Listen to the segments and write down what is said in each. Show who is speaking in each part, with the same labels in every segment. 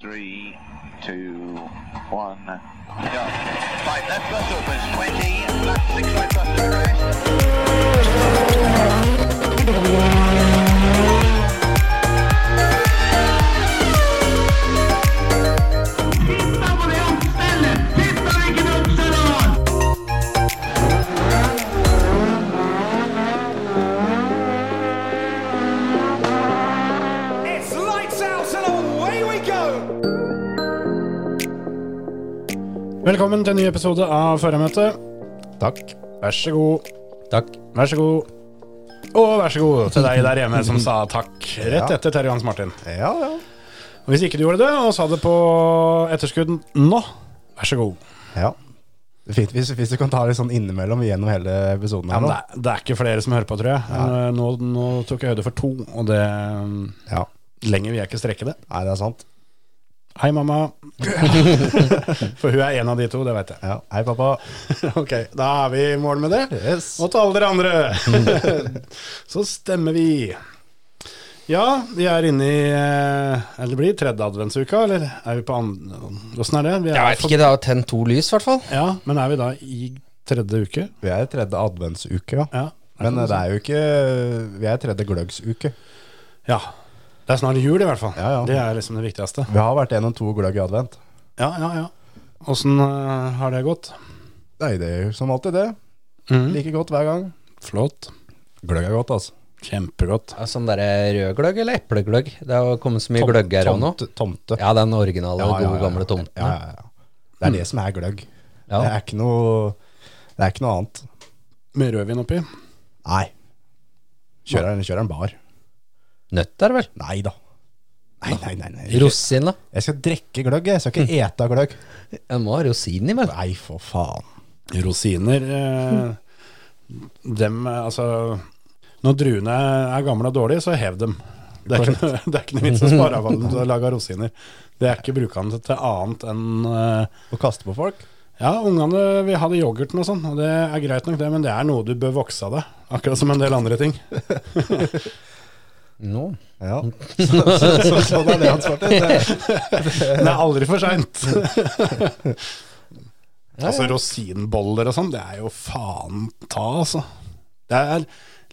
Speaker 1: three, two, one, go. Five left bus opens, 20, left six right bus to arrest.
Speaker 2: It's lights out and away we go!
Speaker 3: Velkommen til en ny episode av Førermøtet.
Speaker 4: Takk.
Speaker 3: Vær så god,
Speaker 4: Takk.
Speaker 3: vær så god. Og vær så god til deg der hjemme som sa takk rett
Speaker 4: Ja.
Speaker 3: etter Terje Hans Martin.
Speaker 4: Ja, ja.
Speaker 3: Og hvis ikke du gjorde det, og sa det på etterskudd nå, vær så god.
Speaker 4: ja. Det er Fint hvis, hvis du kan ta litt sånn innimellom gjennom hele episoden.
Speaker 3: Ja,
Speaker 4: her
Speaker 3: men
Speaker 4: nå.
Speaker 3: det, er, det er ikke flere som hører på, tror jeg. Men, eh, Nå, nå tok jeg høyde for to, og det mm,
Speaker 4: ja.
Speaker 3: Lenger vil jeg ikke strekke det.
Speaker 4: Nei, det er sant.
Speaker 3: Hei, mamma. For hun er en av de to, det veit jeg.
Speaker 4: Ja. Hei, pappa.
Speaker 3: Ok, da er vi i mål med det.
Speaker 4: Yes.
Speaker 3: Og til alle dere andre, så stemmer vi. Ja, vi er inne i eh, Eller det blir tredje adventsuka, eller er vi på andre Åssen er det? Vi er
Speaker 5: Jeg veit
Speaker 3: for-
Speaker 5: ikke, det har tent to lys i hvert fall.
Speaker 3: Ja, men er vi da i tredje uke?
Speaker 4: Vi er i tredje adventsuke, ja.
Speaker 3: Ja.
Speaker 4: Men det er jo ikke Vi er i tredje gløggsuke.
Speaker 3: Ja. Det er snart jul, i hvert fall.
Speaker 4: Ja, ja.
Speaker 3: Det er liksom det viktigste.
Speaker 4: Vi har vært gjennom to gløgg i advent.
Speaker 3: Ja, ja, ja. Åssen eh, har det gått?
Speaker 4: Nei, det er jo som alltid det.
Speaker 3: Mhm.
Speaker 4: Like godt hver gang.
Speaker 3: Flott.
Speaker 4: Gløgg er godt, altså.
Speaker 3: Kjempegodt.
Speaker 5: Ja, Sånn derre rød gløgg eller eplegløgg? Det har jo kommet så mye gløgger av nå.
Speaker 4: tomte, tomte.
Speaker 5: Ja, den originale,
Speaker 4: Ja, ja, ja,
Speaker 5: gode,
Speaker 4: ja.
Speaker 5: gamle tomten.
Speaker 4: Ja, ja, ja. Det er det som er gløgg.
Speaker 5: Ja.
Speaker 4: Det er ikke noe Det er ikke noe annet.
Speaker 3: Med rødvin oppi.
Speaker 4: Nei. Kjører en, kjører en bar.
Speaker 5: Nøtter, vel?
Speaker 4: Nei da. Nei, nei, nei. nei.
Speaker 5: Rosin, da?
Speaker 4: Jeg skal drikke gløgg, jeg. Jeg skal
Speaker 3: Mm.
Speaker 4: ikke ete gløgg.
Speaker 5: Den må ha rosin i, vel?
Speaker 4: Nei, for faen.
Speaker 3: Rosiner eh, Dem, eh, altså Når druene er gamle og dårlige, så hev dem. Det er ikke, noe- det er ikke noe vits å spare av dem til å lage rosiner. Det er ikke brukende til annet enn eh,
Speaker 4: Å kaste på folk?
Speaker 3: Ja, ungene vil ha det i yoghurten og sånn, og det er greit nok, det, men det er noe du bør vokse av deg. Akkurat som en del andre ting.
Speaker 5: No.
Speaker 4: Ja. Så, så, så, sånn er det han svarte. Det-
Speaker 3: Men det er aldri for seint.
Speaker 5: Ja,
Speaker 3: Altså
Speaker 5: ja.
Speaker 3: rosinboller og sånn, det er jo faen ta, altså. Det er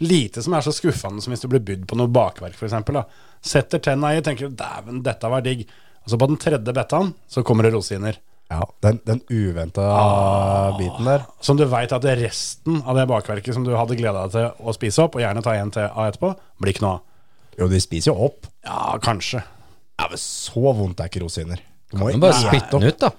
Speaker 3: lite som er så skuffende som hvis du blir bydd på noe bakverk, f.eks. Setter tenna i og tenker 'dæven, dette var digg'. Og så på den tredje bettaen så kommer det rosiner. Ah.
Speaker 4: Ja, den, den uventa biten der.
Speaker 3: Som du veit at det er resten av det bakverket som du hadde gleda deg til å spise opp, og gjerne ta en til av etterpå, blir ikke noe av.
Speaker 4: Jo, de spiser jo opp.
Speaker 3: Ja, kanskje.
Speaker 4: Ja, men Så vondt er ikke rosiner. Du må
Speaker 5: Du må bare
Speaker 4: Nei.
Speaker 5: spytte den ut, da.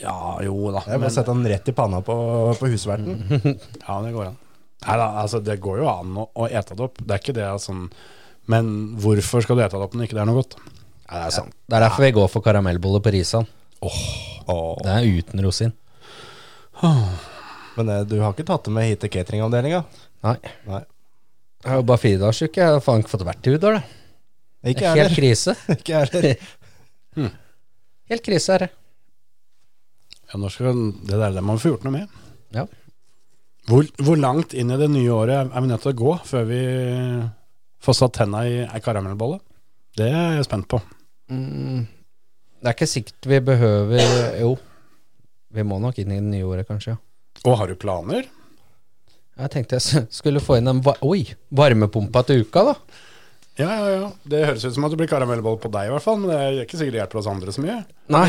Speaker 3: Ja, jo da.
Speaker 4: Jeg må
Speaker 3: men-
Speaker 4: sette den rett i panna på, på husverten.
Speaker 3: Ja, det går an. Nei da, altså det går jo an å, å ete det opp. Det er ikke det altså, sånn Men hvorfor skal du ete det opp når ikke det er noe godt?
Speaker 4: Ja, det er sant.
Speaker 5: Det er derfor vi går for karamellbolle på Risan.
Speaker 4: Åh.
Speaker 5: Det er uten rosin.
Speaker 4: Men eh, du har ikke tatt det med hit til cateringavdelinga?
Speaker 5: Nei.
Speaker 4: Nei.
Speaker 5: Jeg er jo bare firedagsuke. Jeg har faen ikke fått vært i Udal, jeg. Det
Speaker 4: Ikke
Speaker 5: er
Speaker 4: jeg
Speaker 5: Helt
Speaker 4: heller.
Speaker 5: krise.
Speaker 4: Ikke jeg heller.
Speaker 5: Hmm. Helt krise er det.
Speaker 3: Ja, når skal, det der det må vi få gjort noe med.
Speaker 5: Ja.
Speaker 3: Hvor, hvor langt inn i det nye året er vi nødt til å gå før vi får satt tenna i ei karamellbolle? Det er jeg spent på.
Speaker 5: Det er ikke sikkert vi behøver Jo, vi må nok inn i det nye året, kanskje. ja.
Speaker 3: Og har du planer?
Speaker 5: Jeg tenkte jeg s- skulle få inn en va Oi, varmepumpa til uka, da.
Speaker 3: Ja, ja, ja. Det høres ut som at det blir karamellbolle på deg i hvert fall, men det er ikke sikkert det hjelper oss andre så mye.
Speaker 5: Nei.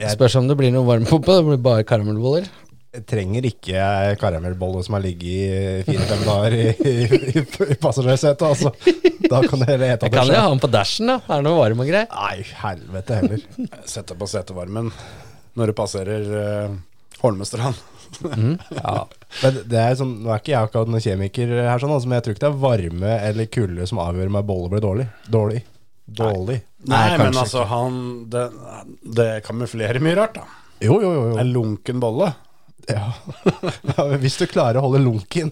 Speaker 5: Spørs om det blir noe varmepumpe. Det blir bare karamellboller.
Speaker 4: Jeg trenger ikke karamellbolle som har ligget i fire-fem dager i, i, i, i passasjersetet, altså. Da kan dere ete
Speaker 5: Jeg kan jo ha den på dashen, da. Det er noe varm og greier.
Speaker 4: Nei, helvete heller.
Speaker 3: Sette på setevarmen når du passerer eh, Holmestrand.
Speaker 4: Mm, Ja. Men det er sånn, nå er ikke jeg akkurat noen kjemiker her, sånn, altså, men jeg tror ikke det er varme eller kulde som avgjør om ei bolle blir dårlig. Dårlig. Dårlig.
Speaker 3: Nei,
Speaker 5: Nei,
Speaker 3: men
Speaker 5: kanskje
Speaker 3: altså, han Det, det kamuflerer mye rart, da.
Speaker 4: Jo, jo, jo. jo.
Speaker 3: En lunken bolle.
Speaker 4: Ja. Ja, men hvis du klarer å holde lunken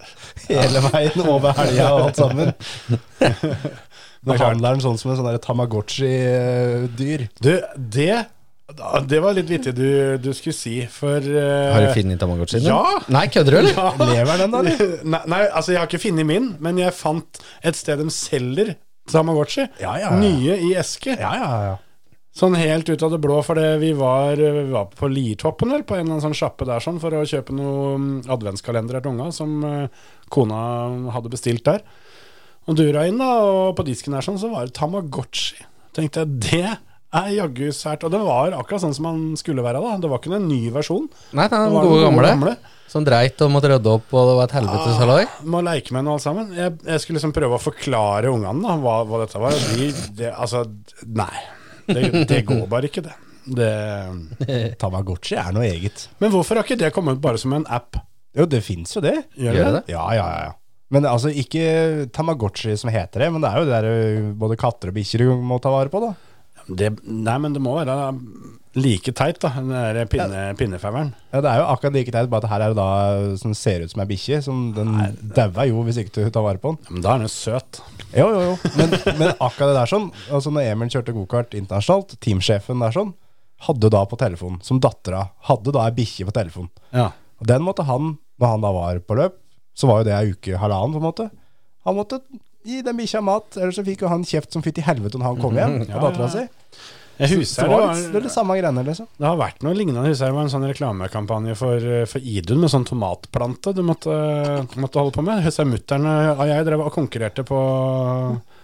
Speaker 4: hele veien over helga og alt sammen. Behandler den sånn som en sånn der Tamagotchi-dyr.
Speaker 3: Du, det Det var litt vittig du, du skulle si, for eh,
Speaker 5: Har du funnet Tamagotchien? din?
Speaker 3: Ja.
Speaker 5: Nei, kødder du, eller?
Speaker 3: Ja.
Speaker 4: Lever den da, eller?
Speaker 3: Nei, nei, altså jeg har ikke funnet min, men jeg fant et sted de selger Tamagotchi.
Speaker 4: Ja, ja, ja.
Speaker 3: Nye i eske.
Speaker 4: Ja, ja, ja.
Speaker 3: Sånn helt ut av det blå, for vi, var- vi var på Liertoppen vel, på en eller annen sånn sjappe der sånn, for å kjøpe noen adventskalendere til unga som eh, kona hadde bestilt der. Og dura inn, da, og på disken der sånn, så var det Tamagotchi. Tenkte jeg, det er jaggu sært. Og det var akkurat sånn som man skulle være da. Det var ikke noen ny versjon.
Speaker 5: Nei, nei,
Speaker 3: Det
Speaker 5: den
Speaker 3: var
Speaker 5: gode
Speaker 3: den
Speaker 5: gamle. Ah. Som dreit og måtte rydde opp, og det var et helvetes halloi.
Speaker 3: Må leke med den alle sammen. Jeg, jeg skulle liksom prøve å forklare ungene da, hva, hva dette var. og De, det, altså, nei. Det, det går bare ikke, det. det.
Speaker 4: Tamagotchi er noe eget.
Speaker 3: Men hvorfor har ikke det kommet bare som en app?
Speaker 4: Jo, det fins jo det.
Speaker 3: Gjør
Speaker 5: Gjør
Speaker 3: det?
Speaker 5: det det?
Speaker 4: Ja, ja, ja. ja. Men altså, ikke Tamagotchi som heter det, men det er jo det der ø, både katter og bikkjer du må ta vare på, da.
Speaker 3: det? Nei, men det må være like teit, da. Den der pinne, pinnefemmeren.
Speaker 4: Ja, Det er jo akkurat like teit, bare at her er det da ø, som ser ut som ei bikkje. Som den daua jo hvis ikke du tar vare på den.
Speaker 3: Men da er den jo søt.
Speaker 4: Jo, jo, jo. Men, men akkurat det der sånn. Altså når Emil kjørte gokart internasjonalt, teamsjefen der sånn, hadde da på telefon, som dattera, hadde da ei bikkje på telefon.
Speaker 3: Ja.
Speaker 4: Og den måtte han, når han da var på løp, så var jo det ei uke, halvannen på en måte. Han måtte gi den bikkja mat, ellers så fikk jo han kjeft som fytti helvete når han kom hjem. Og dattera si.
Speaker 3: Jeg
Speaker 4: Så
Speaker 3: husker
Speaker 4: det
Speaker 3: det,
Speaker 4: var litt- det
Speaker 3: var,
Speaker 4: er det samme greiene, liksom.
Speaker 3: det har vært noe lignende. Husker jeg det var en sånn reklamekampanje for, eh, for Idun med sånn tomatplante du måtte, måtte holde på med. Husker jeg mutter'n og jeg drev og konkurrerte på,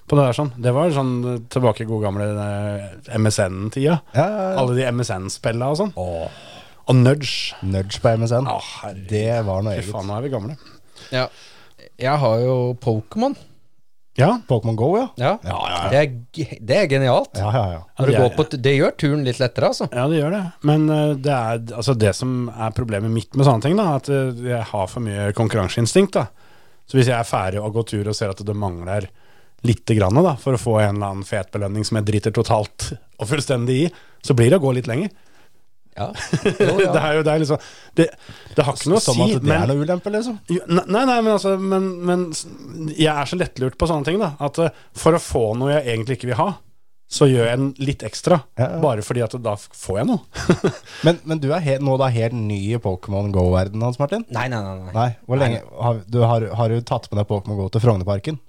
Speaker 3: på det der sånn. Det var sånn eh, tilbake i god gamle eh, MSN-tida.
Speaker 4: Ja, ja, ja.
Speaker 3: Alle de MSN-spella og sånn. Og Nudge.
Speaker 4: Nudge på MSN.
Speaker 3: Å, herregud.
Speaker 4: det var noe
Speaker 3: Fy
Speaker 4: eget.
Speaker 3: faen, nå er vi gamle.
Speaker 5: Ja. Jeg har jo Pokémon.
Speaker 3: Ja,
Speaker 4: Pokémon Go, ja.
Speaker 5: Ja. Det, er, ge- det er genialt.
Speaker 4: Ja, ja, ja.
Speaker 5: Når du
Speaker 3: Ja, det
Speaker 5: går
Speaker 3: er-
Speaker 5: på, t- det gjør turen litt lettere, altså.
Speaker 3: Ja, det gjør det. Men eh, det er altså det som er problemet mitt med sånne ting, da, at eh, jeg har for mye konkurranseinstinkt. da. Så hvis jeg er ferdig og går tur og ser at det mangler lite grann da, for å få en eller annen fet belønning som jeg driter totalt og fullstendig i, så blir det å gå litt lenger.
Speaker 5: Ja. Jo,
Speaker 3: Det
Speaker 5: ja.
Speaker 3: er jo det er liksom Det, det har ikke noe å
Speaker 4: Som
Speaker 3: si.
Speaker 4: at det
Speaker 3: men-
Speaker 4: er noe ulempe, liksom.
Speaker 3: jo, Nei, nei, nei, men altså men, men s- jeg er så lettlurt på sånne ting, da. At eh, for å få noe jeg egentlig ikke vil ha, så gjør jeg en litt ekstra.
Speaker 4: Ja, ja.
Speaker 3: Bare fordi at da f- får jeg noe.
Speaker 4: Men, men du er he- nå da helt ny i Pokémon Go-verdenen hans, Martin?
Speaker 5: Nei, nei, nei. Nei.
Speaker 4: Nei, hvor lenge har du, har, har du tatt med deg Pokémon Go til Frognerparken?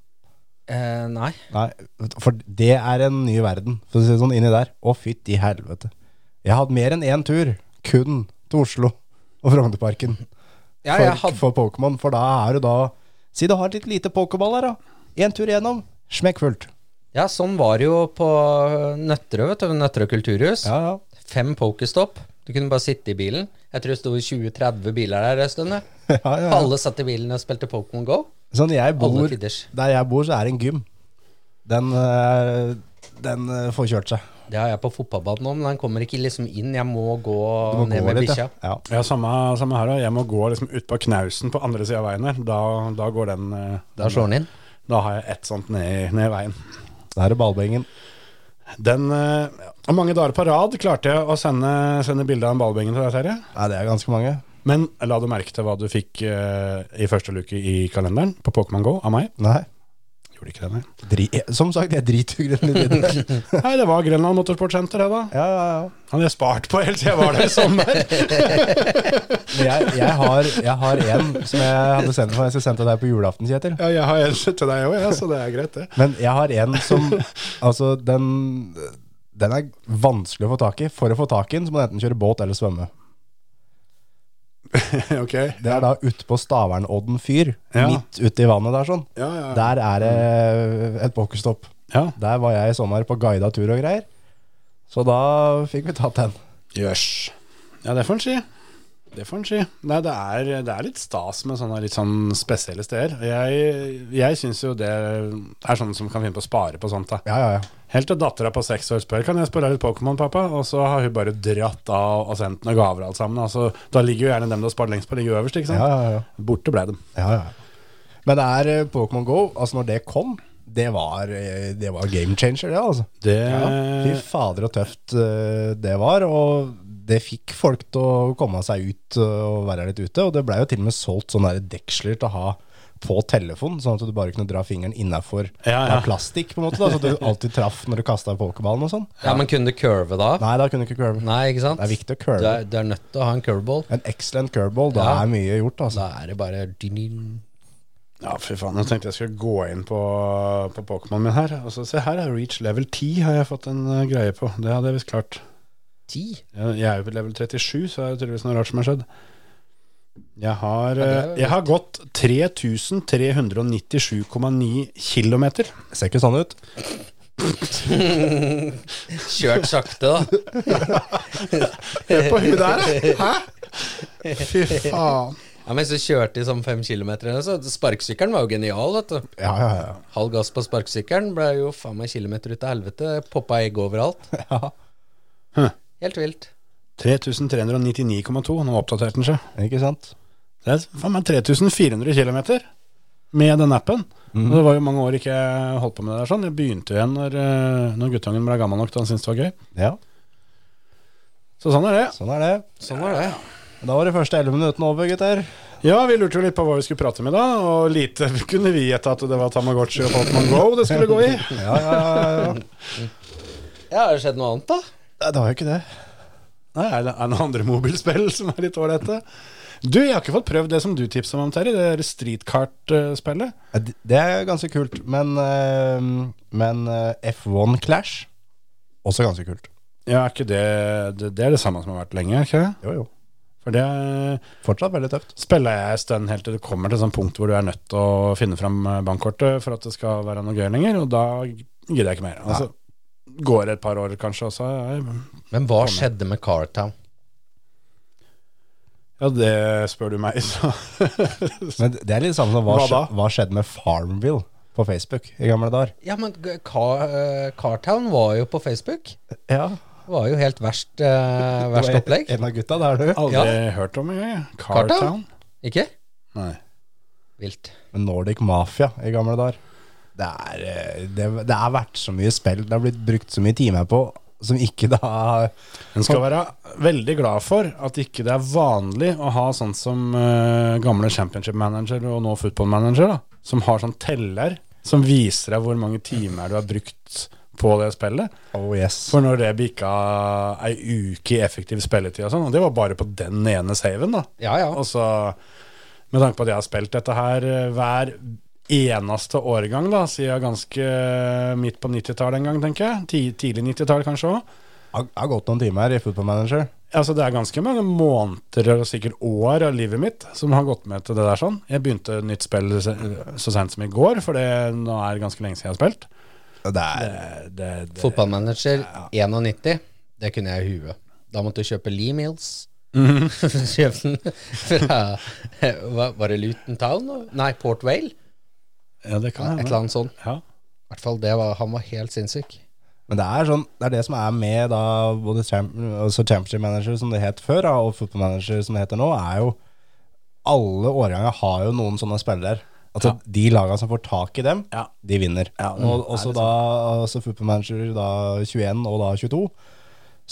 Speaker 5: Eh, nei.
Speaker 4: Nei, for det er en ny verden, for å si det sånn, inni der. Å, fytti helvete. Jeg har hatt mer enn én tur, kun til Oslo og Frognerparken,
Speaker 5: Ja,
Speaker 4: for,
Speaker 5: jeg hadde
Speaker 4: for Pokémon. For da er du da Si du har et litt lite Pokéball her, da. Én tur igjennom, smekkfullt.
Speaker 5: Ja, sånn var det jo på øh, Nøtterøy, vet du. Nøtterøy kulturhus.
Speaker 4: Ja, ja.
Speaker 5: Fem pokestopp. Du kunne bare sitte i bilen. Jeg tror det sto 20-30 biler der en stund. jeg.
Speaker 4: ja, ja, ja.
Speaker 5: Alle satt i bilen og spilte Pokémon Go.
Speaker 4: Sånn jeg
Speaker 5: Alle
Speaker 4: bor
Speaker 5: tiders.
Speaker 4: Der jeg bor, så er det en gym. Den, eh, den eh, får kjørt seg.
Speaker 5: Det har jeg på fotballbanen òg, men den kommer ikke liksom inn. Jeg må gå
Speaker 4: Du må
Speaker 5: ned
Speaker 4: gå
Speaker 5: med
Speaker 4: litt,
Speaker 5: bikkja.
Speaker 4: ja.
Speaker 3: Ja, samme, samme her. da. Jeg må gå liksom ut på knausen på andre sida av veien her. Da, da går den eh,
Speaker 5: Da slår den inn.
Speaker 3: Da har jeg ett sånt ned, i- ned i veien.
Speaker 4: ja. Der er ballbengen.
Speaker 3: Den eh, Og mange dager på rad klarte jeg å sende, sende bilde av en ballbengen til deg, Terje.
Speaker 4: Nei, det er ganske mange.
Speaker 3: Men la du merke til hva du fikk eh, i første luke i kalenderen på Pokémon Go av meg?
Speaker 4: Nei.
Speaker 3: Gjorde ikke det, nei.
Speaker 4: Dri eh, Som sagt, jeg driter jo grønn i det.
Speaker 3: Nei, det var Grenland Motorsportsenter, det, da.
Speaker 4: Ja, ja, ja.
Speaker 3: Hadde jeg spart på helt siden jeg var der i sommer.
Speaker 4: Men Jeg, jeg, har, jeg har en som jeg hadde sendt for. Jeg skal sende til deg på julaften, Kjetil.
Speaker 3: Ja, jeg har en til deg òg, ja, så det er greit, det.
Speaker 4: Men jeg har en som Altså, den Den er vanskelig å få tak i. For å få tak i den, så må du enten kjøre båt eller svømme.
Speaker 3: ok.
Speaker 4: Det er da utpå Stavernodden fyr.
Speaker 3: Ja.
Speaker 4: Midt ute i vannet der, sånn.
Speaker 3: Ja, ja.
Speaker 4: Der er det et pokerstopp.
Speaker 3: Ja.
Speaker 4: Der var jeg i sommer på guida tur og greier. Så da fikk vi tatt den.
Speaker 3: Jøss. Ja, det får en si. Det får en si. Nei, det er, det er litt stas med sånne litt sånn spesielle steder. Jeg, jeg syns jo det er sånne som kan finne på å spare på sånt. da.
Speaker 4: Ja, ja, ja.
Speaker 3: Helt til dattera på seks år spør kan jeg spille litt Pokémon, pappa, og så har hun bare dratt av og sendt noen gaver og alt sammen. Altså, da ligger jo gjerne dem du har spart lengst på, ligger jo øverst, ikke sant.
Speaker 4: ja, ja, ja.
Speaker 3: Borte ble dem.
Speaker 4: ja, ja. Men det er eh, Pokémon Go. Altså, når det kom, det var, eh, det var game changer, det, altså.
Speaker 3: Det
Speaker 4: Fy fader og tøft eh, det var. Og det fikk folk til å komme seg ut eh, og være litt ute. Og det blei jo til og med solgt sånne der deksler til å ha på telefon, sånn at du bare kunne dra fingeren innafor
Speaker 3: Ja, ja.
Speaker 4: av plastikk, på en måte. Da, så du alltid traff når du kasta pokerballen og sånn.
Speaker 5: Ja, men kunne du curve da? Nei,
Speaker 4: Nei, da kunne du ikke curve.
Speaker 5: ikke sant?
Speaker 4: Det er viktig å curve.
Speaker 5: Du er, du er nødt til å ha en curveball.
Speaker 4: En excellent curveball, da
Speaker 5: Ja.
Speaker 4: er mye gjort, altså.
Speaker 5: Da er det bare din, din.
Speaker 3: Ja, fy faen. Jeg tenkte jeg skulle gå inn på, på Pokémon min her. Og så se her, er Reach level 10 har jeg fått en eh, greie på. Det hadde jeg visst klart.
Speaker 5: 10?
Speaker 3: Jeg, jeg er jo på level 37, så er det tydeligvis noe rart som har skjedd. Jeg har,
Speaker 5: det er
Speaker 3: eh,
Speaker 5: jo
Speaker 3: jeg har gått 3397,9 kilometer.
Speaker 4: Det ser ikke sånn ut.
Speaker 5: Kjørt sakte, da.
Speaker 3: Hør på hun der, da! Hæ? Fy faen.
Speaker 5: Ja, Mens du kjørte i sånn fem kilometer eller noe, så Sparkesykkelen var jo genial, vet du.
Speaker 4: Ja, ja, ja.
Speaker 5: Halv gass på sparkesykkelen ble jo faen meg kilometer ut av helvete. Poppa egg overalt.
Speaker 4: Ja.
Speaker 5: Helt vilt.
Speaker 3: 3399,2. Nå oppdaterte den seg.
Speaker 4: Ikke sant?
Speaker 3: Det er faen meg 3400 km med den appen. Og det var jo mange år ikke jeg holdt på med det der sånn. Jeg begynte jo igjen når, eh, når guttungen ble gammel nok til han syntes det var gøy.
Speaker 4: Ja,
Speaker 3: Så sånn er det.
Speaker 4: sånn er det.
Speaker 5: Sånn var det.
Speaker 4: Da var de første 11 minuttene over, gutter.
Speaker 3: Ja, vi lurte jo litt på hva vi skulle prate om i dag, og lite kunne vi gjette at det var Tamagotchi og Pokémon Go det skulle gå i.
Speaker 4: Ja, ja, ja, ja.
Speaker 5: Ja, har det skjedd noe annet, da?
Speaker 4: Nei, Det var jo ikke det.
Speaker 3: Nei, er det er det noen andre mobilspill som er litt ålreite? Du, jeg har ikke fått prøvd det som du tipsa meg om, Terje. Det der streetkart-spillet.
Speaker 4: Ja, det- Det er ganske kult, men, eh, men eh, F1 Clash også ganske kult.
Speaker 3: Ja, er ikke det, det Det er det samme som har vært lenge, er ikke det?
Speaker 4: Jo, jo.
Speaker 3: For det er
Speaker 4: Fortsatt veldig tøft.
Speaker 3: spiller jeg en stund helt til det kommer til et sånt punkt hvor du er nødt til å finne fram eh, bankkortet for at det skal være noe gøy lenger, og da gidder jeg ikke mer. Altså, går det et par år kanskje, og så er jeg
Speaker 5: Men hva skjedde med Cartown?
Speaker 3: Ja, det spør du meg, så
Speaker 4: Men det er litt det samme som hva,
Speaker 3: Hva da?
Speaker 4: skje- hva skjedde med Farmville på Facebook i gamle dager.
Speaker 5: Ja, men G- Car, eh, Cartown var jo på Facebook.
Speaker 4: Ja,
Speaker 5: Det var jo helt verst, eh, verst opplegg.
Speaker 4: En av gutta, det er du.
Speaker 3: Aldri
Speaker 5: Ja.
Speaker 3: hørt om engang, jeg.
Speaker 5: Cartown?
Speaker 3: Cartown?
Speaker 5: Ikke?
Speaker 3: Nei.
Speaker 5: Vilt.
Speaker 4: Nordic Mafia i gamle dager. Det, er, eh, det, det har vært så mye spill, det har blitt brukt så mye timer på, som ikke da
Speaker 3: En skal være veldig glad for at ikke det er vanlig å ha sånn som eh, gamle championship manager og nå football manager, da, som har sånn teller som viser deg hvor mange timer du har brukt på det spillet.
Speaker 4: Oh yes.
Speaker 3: For når det bikka ei uke i effektiv spilletid og sånn, og det var bare på den ene saven, da.
Speaker 5: Ja, ja.
Speaker 3: Og så, med tanke på at jeg har spilt dette her eh, hver eneste årgang, da, siden ganske eh, midt på 90-tallet en gang, tenker jeg. Ti- Tidlig 90-tall kanskje òg.
Speaker 4: Har, har gått noen timer i Football Manager.
Speaker 3: Altså, det er ganske mange måneder og sikkert år av livet mitt som har gått med til det der sånn. Jeg begynte nytt spill så så sent som i går, for det nå er det ganske lenge siden jeg har spilt.
Speaker 4: Det er,
Speaker 3: Eh, Det, det,
Speaker 5: Fotballmanager 91, det kunne jeg i huet. Da måtte du kjøpe Lee Mills. Kjøpe den fra eh, hva- Var det Luton Town? da? Nei, Port Vale.
Speaker 3: ja, det kan
Speaker 5: Et
Speaker 3: hende.
Speaker 5: eller annet sånt.
Speaker 3: Ja.
Speaker 5: I hvert fall det var, han var helt sinnssyk.
Speaker 4: men det er sånn Det er det som er med da både champ, altså Championship Manager, som det het før, da, og Football Manager, som det heter nå, er jo Alle årganger har jo noen sånne spillere. Altså, De lagene som får tak i dem,
Speaker 3: Ja.
Speaker 4: de vinner.
Speaker 3: Ja, det
Speaker 4: og
Speaker 3: er
Speaker 4: også
Speaker 3: litt
Speaker 4: da altså Football Manager da 21 og da 22,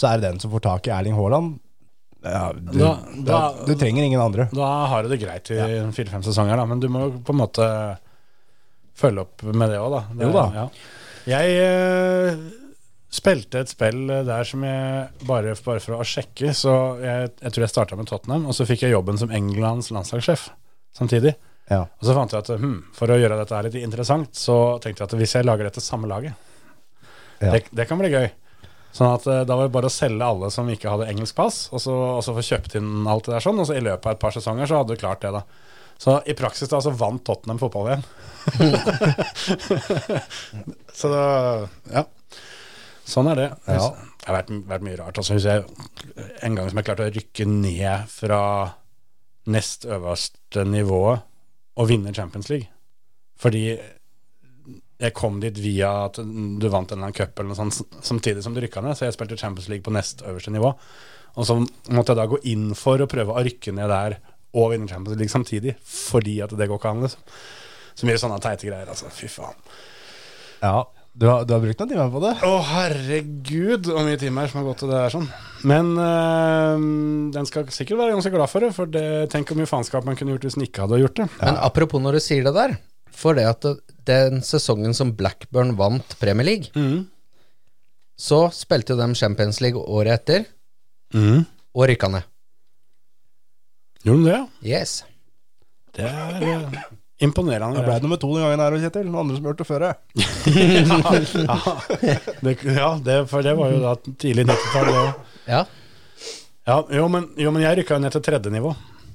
Speaker 4: så er det den som får tak i Erling Haaland. Ja, du, da,
Speaker 3: Da- da-
Speaker 4: du trenger ingen andre.
Speaker 3: Da har du det greit i fire-fem sesonger, da, men du må jo på en måte følge opp med det òg, da. Det,
Speaker 4: Jo da.
Speaker 3: Ja. Jeg eh, spilte et spill der som jeg bare, bare for å sjekke Så jeg, jeg tror jeg starta med Tottenham, og så fikk jeg jobben som Englands landslagssjef samtidig.
Speaker 4: Ja.
Speaker 3: Og så fant jeg at hm, for å gjøre dette her litt interessant, så tenkte jeg at hvis jeg lager dette samme laget,
Speaker 4: Ja.
Speaker 3: det, det kan bli gøy. Sånn at eh, da var det bare å selge alle som ikke hadde engelsk pass, og så, og så få kjøpt inn alt det der sånn, og så i løpet av et par sesonger så hadde du klart det, da. Så i praksis da så vant Tottenham fotball-VM. så da Ja. Sånn er det.
Speaker 4: Ja.
Speaker 3: Det har vært, vært mye rart. Altså, hvis jeg, en gang som jeg klarte å rykke ned fra nest øverste nivået og vinne Champions League. Fordi jeg kom dit via at du vant en eller annen cup eller noe sånt s- samtidig som du rykka ned, så jeg spilte Champions League på nest øverste nivå. Og så måtte jeg da gå inn for å prøve å rykke ned der og vinne Champions League samtidig, fordi at det går ikke an, liksom. Så mye sånne teite greier, altså. Fy faen.
Speaker 4: ja. Du, har, du har brukt noen timer på det?
Speaker 3: Å, herregud, hvor mye timer som har gått til det der sånn. Men eh, den skal sikkert være ganske glad for det, for det, tenk hvor mye faenskap man kunne gjort hvis den ikke hadde gjort det.
Speaker 5: Men apropos når du sier det der, for det at det- den sesongen som Blackburn vant Premier League,
Speaker 3: Mm.
Speaker 5: så spilte jo dem Champions League året etter,
Speaker 4: Mm.
Speaker 3: Mhm.
Speaker 5: og rykka ned.
Speaker 3: Gjorde den det?
Speaker 5: Yes.
Speaker 3: Det er eh, Imponerende.
Speaker 4: Jeg ble nummer to den gangen her, Kjetil. Noen andre som hørte før jeg.
Speaker 3: Det, ja, det, for det var jo da tidlig 90-tall. det også.
Speaker 5: Ja.
Speaker 3: Ja, jo, men- jo, men jeg rykka jo ned til tredje nivå.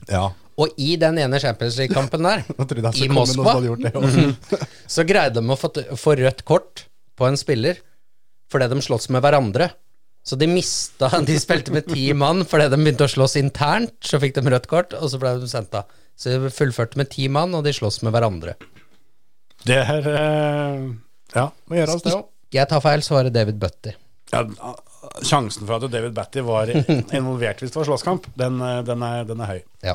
Speaker 4: Ja.
Speaker 5: Og i den ene Champions League-kampen der,
Speaker 4: Jeg trodde
Speaker 5: i
Speaker 4: jeg skulle komme
Speaker 5: Moskva,
Speaker 4: noen som hadde gjort det også.
Speaker 5: så greide de å få, få rødt kort på en spiller fordi de slåss med hverandre. Så de mista De spilte med ti mann fordi de begynte å slåss internt. Så fikk de rødt kort, og så ble de sendt av. Så de fullførte med ti mann, og de slåss med hverandre.
Speaker 3: Det her eh, Ja.
Speaker 4: Må gjøre oss det òg.
Speaker 5: Jeg tar feil, så var det David Butter.
Speaker 3: ja sjansen for at David Batty var involvert hvis det var slåsskamp, den, eh, den, er, den er høy.
Speaker 5: Ja.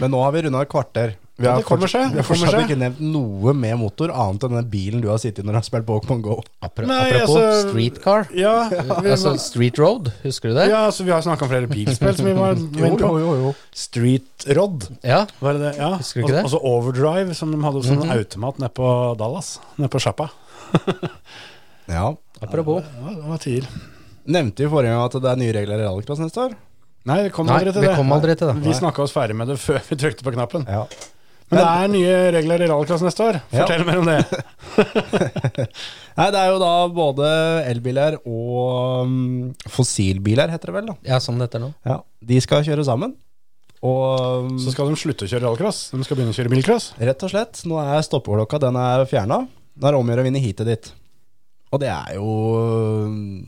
Speaker 4: Men nå har vi runda et kvarter. Vi
Speaker 3: Ja,
Speaker 4: har
Speaker 3: det kommer seg,
Speaker 4: vi har
Speaker 3: det kommer
Speaker 4: fortsatt
Speaker 3: seg.
Speaker 4: ikke nevnt noe med motor, annet enn den bilen du har sittet i når du har spilt Pokémon Go.
Speaker 5: Apro
Speaker 3: Nei,
Speaker 5: apropos
Speaker 3: altså-
Speaker 5: streetcar.
Speaker 3: Ja, vi,
Speaker 5: Altså Street Road, husker du det?
Speaker 3: ja så vi har snakka om flere bilspill som vi var var inne på.
Speaker 4: jo, jo.
Speaker 3: Street Rod.
Speaker 5: Ja.
Speaker 3: Var det det? Ja.
Speaker 5: Husker du ikke det?
Speaker 3: Og så Overdrive, som de hadde som en automat nede på Dallas. Nede på sjappa.
Speaker 4: Ja.
Speaker 5: Apropos.
Speaker 3: Ja, det var tider. Nevnte
Speaker 4: Nevnte vi forrige gang at det er nye regler i rallycross neste år?
Speaker 3: Nei, vi kom
Speaker 5: Nei,
Speaker 3: aldri til
Speaker 5: vi
Speaker 3: det.
Speaker 5: kom aldri til det.
Speaker 3: Vi snakka oss ferdig med det før vi trykte på knappen.
Speaker 4: Ja.
Speaker 3: Men det er nye regler i rallycross neste år. Fortell mer om det.
Speaker 4: Nei, det er jo da både elbiler og mm, fossilbiler, heter det vel. da.
Speaker 5: Ja, sånn det heter nå.
Speaker 4: Ja. De skal kjøre sammen. Og mm,
Speaker 3: Så skal de slutte å kjøre rallycross. De skal begynne å kjøre bilcross.
Speaker 4: rett og slett, nå er stoppeklokka den er fjerna. Nå er det om å gjøre å vinne heatet ditt. Og det er jo mm,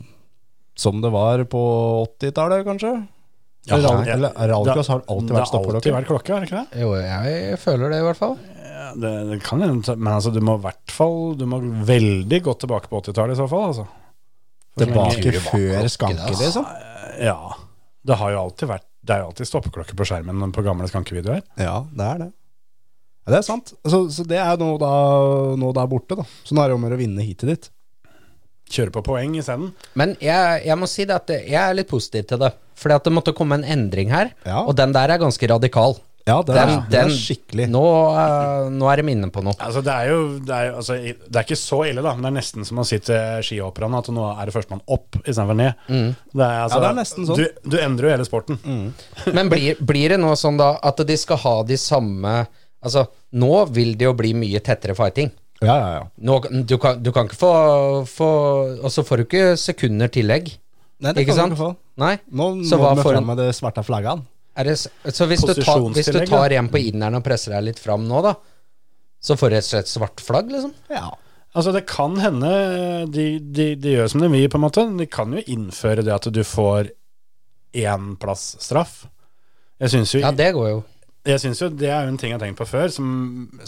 Speaker 4: som det var på 80-tallet, kanskje.
Speaker 3: Ja,
Speaker 4: Eller
Speaker 3: nei.
Speaker 4: eller Rallycross har alltid vært
Speaker 3: Det har
Speaker 4: stoppeklokke.
Speaker 3: alltid vært klokke, er det ikke det?
Speaker 5: Jo, jeg føler det, i hvert fall.
Speaker 3: Ja, det, det kan hende, men altså, du må i hvert fall Du må veldig godt tilbake på 80-tallet i så fall, altså.
Speaker 4: Tilbake
Speaker 5: Turer bak
Speaker 4: før
Speaker 5: klokke,
Speaker 4: skanke,
Speaker 5: altså.
Speaker 4: liksom.
Speaker 3: Ja. Det har jo alltid vært Det er jo alltid stoppeklokke på skjermen på gamle skankevideoer.
Speaker 4: Ja, det er det. Ja, det er sant. Så, så det er nå da, nå da borte, da. Så nå er det om å gjøre å vinne heatet ditt.
Speaker 3: Kjøre på poeng isteden.
Speaker 5: Men jeg, jeg må si det at jeg er litt positiv til det. Fordi at det måtte komme en endring her,
Speaker 4: Ja.
Speaker 5: og den der er ganske radikal.
Speaker 4: Ja, det er, det er skikkelig.
Speaker 5: Nå, eh, nå er de inne på noe.
Speaker 3: Altså, det er jo det er, jo- altså, i- det er ikke så ille, da, men det er nesten som å si til skihopperne at nå er det førstemann opp istedenfor ned. Det er, altså,
Speaker 4: Mm. Ja, det er nesten sånn. Mm.
Speaker 3: Du, du endrer jo hele sporten.
Speaker 5: Men blir, blir det nå sånn da at de skal ha de samme Altså, nå vil det jo bli mye tettere fighting.
Speaker 4: Ja, ja, ja.
Speaker 5: Nå, du, kan, du kan ikke få, få Og så får du ikke sekunder tillegg.
Speaker 4: Nei,
Speaker 5: Ikke sant? Nei.
Speaker 4: Nå
Speaker 5: Så
Speaker 4: må
Speaker 5: hva
Speaker 4: vi
Speaker 5: får-
Speaker 4: fram med det svarte flagget.
Speaker 5: Er det, s- så hvis du, tar, hvis du
Speaker 3: Posisjonstillegg,
Speaker 5: tar en på inneren og presser deg litt fram nå, da, så får du rett og slett svart flagg, liksom?
Speaker 4: Ja.
Speaker 3: Altså, det kan hende de, de, de gjør som de vil, på en måte. De kan jo innføre det at du får én plass straff. Jeg syns jo,
Speaker 5: Ja, det går jo.
Speaker 3: jeg synes jo det er jo en ting jeg har tenkt på før, som,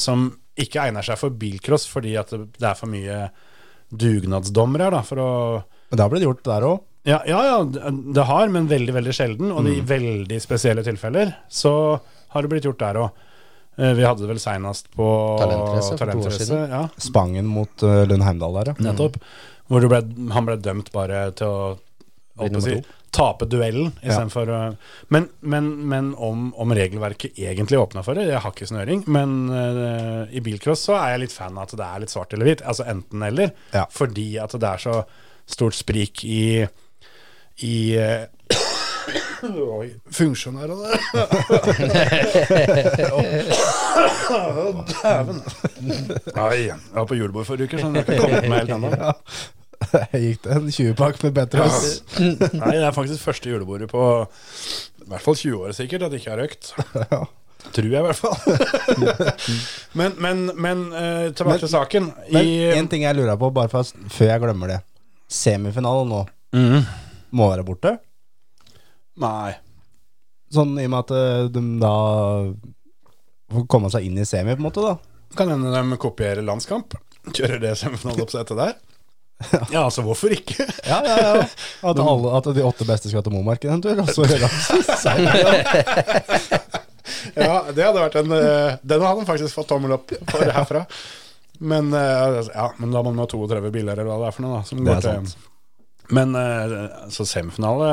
Speaker 3: som ikke egner seg for bilcross fordi at det, det er for mye dugnadsdommere her, da, for å
Speaker 4: Men det har blitt gjort der òg.
Speaker 3: Ja, ja, ja det- det har, men veldig veldig sjelden. Og
Speaker 5: Mm.
Speaker 3: i veldig spesielle tilfeller så har det blitt gjort der òg. Vi hadde det vel seinest på
Speaker 5: Talentrace for to år
Speaker 3: Talentrace,
Speaker 5: siden. Mm.
Speaker 3: Ja,
Speaker 4: Spangen mot eh, Lund Heimdal der, ja.
Speaker 3: Mm. nettopp. Hvor du ble, han ble dømt bare til å holdt på å
Speaker 5: nummer
Speaker 3: si,
Speaker 5: to.
Speaker 3: tape duellen istedenfor å Men, men, men om, om regelverket egentlig åpna for det, jeg har ikke snøring. Men eh, i bilcross så er jeg litt fan av at det er litt svart eller hvitt. Altså enten eller.
Speaker 4: Ja.
Speaker 3: Fordi at det er så stort sprik i i eh, Oi, funksjonærene Å, Dæven. Nei, jeg var på julebord forrige uke, så jeg har ikke kommet meg helt ennå.
Speaker 4: Gikk det en 20-pakk med Petros?
Speaker 3: Nei, det er faktisk første julebordet på i hvert fall 20 år sikkert at jeg ikke har røykt.
Speaker 4: Ja.
Speaker 3: Tror jeg i hvert fall. men men, men eh, tilbake
Speaker 4: Men-
Speaker 3: til saken.
Speaker 4: Men
Speaker 3: I,
Speaker 4: en ting jeg lurer på, bare for, at- før jeg glemmer det. Semifinalen nå må være borte.
Speaker 3: nei.
Speaker 4: Sånn i og med at eh, de da får komme seg inn i semi, på en måte, da.
Speaker 3: Kan hende de kopierer landskamp. Kjører det semifinaleoppsettet der. Ja, altså hvorfor ikke?
Speaker 4: Ja, ja, ja. At, alle, at de åtte beste skal til Momarken en tur, og så gjøre
Speaker 3: Ja, det hadde vært en eh, Den hadde han faktisk fått tommel opp for herfra. Men, eh, ja, men da må man ha 32 biler eller hva det er for noe, da. Som
Speaker 4: Det er
Speaker 3: går til,
Speaker 4: sant.
Speaker 3: men eh, så semifinale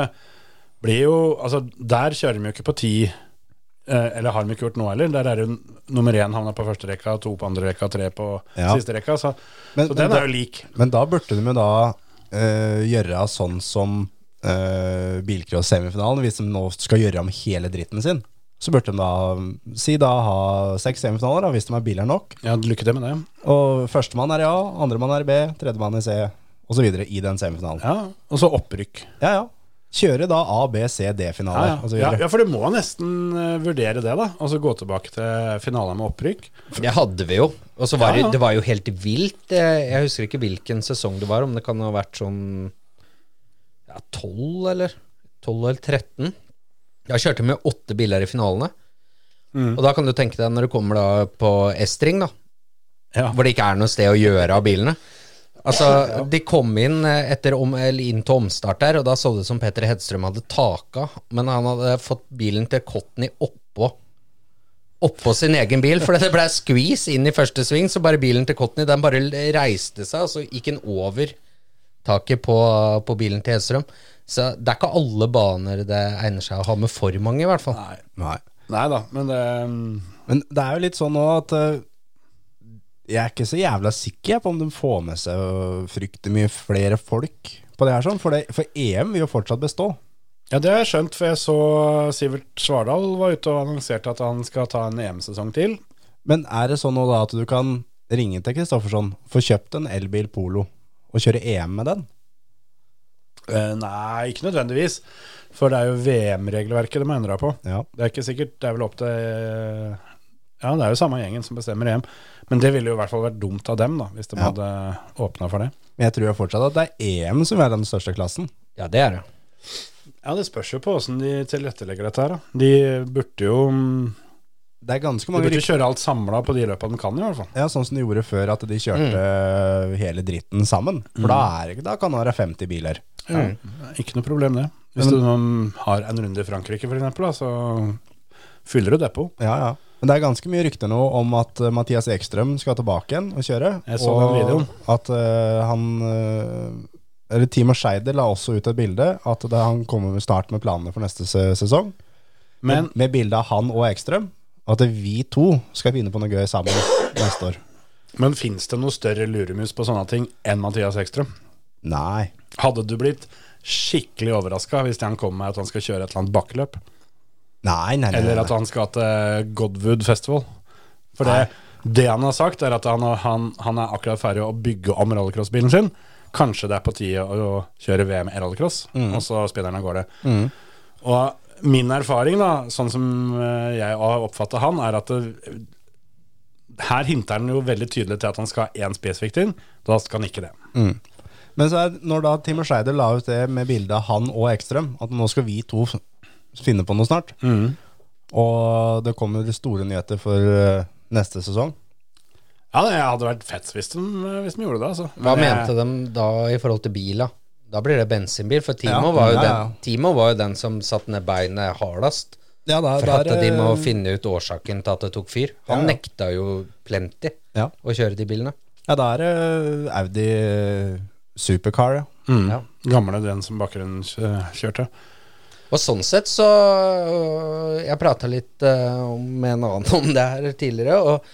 Speaker 3: blir jo Altså, der kjører de jo ikke på ti. eh, Eller har de ikke gjort nå heller? Der er det jo nummer én havna på første rekka, to på andre rekka, tre på
Speaker 4: Ja.
Speaker 3: siste rekka. Så,
Speaker 4: Men-
Speaker 3: så
Speaker 4: men
Speaker 3: den
Speaker 4: da-
Speaker 3: er jo lik.
Speaker 4: Men da burde de jo da eh, gjøre eh, sånn som uh, bilcross-semifinalen, hvis de nå skal gjøre om hele dritten sin. Så burde de da si da ha seks semifinaler, da, hvis de er biler nok.
Speaker 3: Ja, lykke til med det.
Speaker 4: Og førstemann er i A, andremann er i B, tredjemann i C, osv. i den semifinalen.
Speaker 3: Ja, Og så opprykk.
Speaker 4: Ja, ja. Kjøre da A, B, C,
Speaker 3: Ja,
Speaker 4: D-finaler. og så
Speaker 3: ja. ja,
Speaker 4: videre.
Speaker 3: ja for du må nesten eh, vurdere det, da. Og så gå tilbake til finalen med opprykk.
Speaker 5: Det hadde vi jo. Og så var
Speaker 3: Ja, ja.
Speaker 5: det- det var jo helt vilt. Eh, Jeg husker ikke hvilken sesong det var, om det kan ha vært sånn ja, 12 eller 12 eller 13. Jeg kjørte med åtte biler i finalene.
Speaker 3: Mm.
Speaker 5: Og da kan du tenke deg når du kommer da på S-ring, da,
Speaker 3: Ja.
Speaker 5: hvor det ikke er noe sted å gjøre av bilene. Altså, De kom inn eh, etter om, eller inn til omstart der, og da så det ut som Petter Hedstrøm hadde taka, men han hadde fått bilen til Cotney oppå oppå sin egen bil, for det ble squeeze inn i første sving, så bare bilen til Cotney, den bare reiste seg, og så gikk den over taket på, på bilen til Hedstrøm. Så det er ikke alle baner det egner seg å ha med for mange, i hvert fall.
Speaker 4: Nei.
Speaker 3: Nei da, men det mm,
Speaker 4: Men det er jo litt sånn nå at eh, jeg er ikke så jævla sikker jeg, på om de får med seg øh, fryktelig mye flere folk på det her, sånn, for, det, for EM vil jo fortsatt bestå.
Speaker 3: Ja, det har jeg skjønt, for jeg så Sivert Svardal var ute og annonserte at han skal ta en EM-sesong til.
Speaker 4: Men er det sånn nå da at du kan ringe til Kristoffersson, få kjøpt en elbil Polo og kjøre EM med den?
Speaker 3: Eh, nei, ikke nødvendigvis. For det er jo VM-regelverket de har endra på.
Speaker 4: Ja.
Speaker 3: Det er ikke sikkert, det er vel opp til eh, Ja, det er jo samme gjengen som bestemmer EM. Men det ville jo i hvert fall vært dumt av dem, da, hvis de
Speaker 4: Ja.
Speaker 3: hadde åpna for det.
Speaker 4: Men jeg tror jo fortsatt at det er EM som er den største klassen.
Speaker 5: Ja, det er det.
Speaker 3: Ja, det spørs jo på åssen de tilrettelegger dette her, da. De burde jo mm,
Speaker 4: Det er ganske
Speaker 3: De
Speaker 4: mange
Speaker 3: burde jo kjøre alt samla på de løpa de kan, i hvert fall.
Speaker 4: Ja, sånn som de gjorde før, at de kjørte
Speaker 3: Mm.
Speaker 4: hele dritten sammen. For da, er, det ikke- da kan det være 50 biler.
Speaker 3: Ikke noe problem, det. Hvis du mm, har en runde i Frankrike, f.eks., så fyller du depot.
Speaker 4: Ja, ja. Men det er ganske mye rykter nå om at eh, Mathias Ekstrøm skal tilbake igjen og kjøre.
Speaker 3: Jeg så
Speaker 4: og
Speaker 3: den videoen.
Speaker 4: At eh, han eh, Eller Timo Scheider la også ut et bilde at det, han kommer med- snart med planene for neste se sesong.
Speaker 3: Men
Speaker 4: med bilde av han og Ekstrøm. Og at vi to skal begynne på noe gøy sammen neste år.
Speaker 3: Men fins det noe større luremus på sånne ting enn Mathias Ekstrøm?
Speaker 4: Nei.
Speaker 3: Hadde du blitt skikkelig overraska hvis han kom med at han skal kjøre et eller annet bakkeløp?
Speaker 4: Nei, nei, nei, nei.
Speaker 3: Eller at han skal til Godwood Festival? For det, det han har sagt, er at han, har- han, han er akkurat ferdig å bygge om rallycrossbilen sin. Kanskje det er på tide å å kjøre VM i rallycross,
Speaker 5: Mm.
Speaker 3: og så spinner han av gårde. Og min erfaring, da, sånn som eh, jeg har oppfatta han, er at det, her hinter han jo veldig tydelig til at han skal ha én spesifikk ting. Da skal han ikke det.
Speaker 5: Mm.
Speaker 4: Men så er, når da Timo Scheider la ut det med bildet av han og Ekstrøm, at nå skal vi to f- finne på noe snart, og det kommer de store nyheter for eh, neste sesong
Speaker 3: Ja, det hadde vært fett hvis de, hvis de gjorde det. Altså.
Speaker 5: Hva
Speaker 3: Men jeg-
Speaker 5: mente
Speaker 4: eh,
Speaker 5: de da i forhold til bil, da? Da blir det bensinbil, for Timo,
Speaker 4: Ja,
Speaker 5: var, jo
Speaker 4: ja, ja.
Speaker 5: Den, Timo var jo den som satte ned beinet hardest.
Speaker 4: Ja, da,
Speaker 5: For at de må finne ut årsaken til at det tok fyr. Han
Speaker 4: eh, Ja, ja.
Speaker 5: nekta jo plenty
Speaker 4: Ja.
Speaker 5: å kjøre de bilene.
Speaker 4: Ja, da er det Audi eh, Supercar, ja.
Speaker 5: Ja.
Speaker 3: Mm. Gamle den som bakgrunnen eh, kjørte.
Speaker 5: Og sånn sett så øh, Jeg prata litt øh, om- med en annen om det her tidligere, og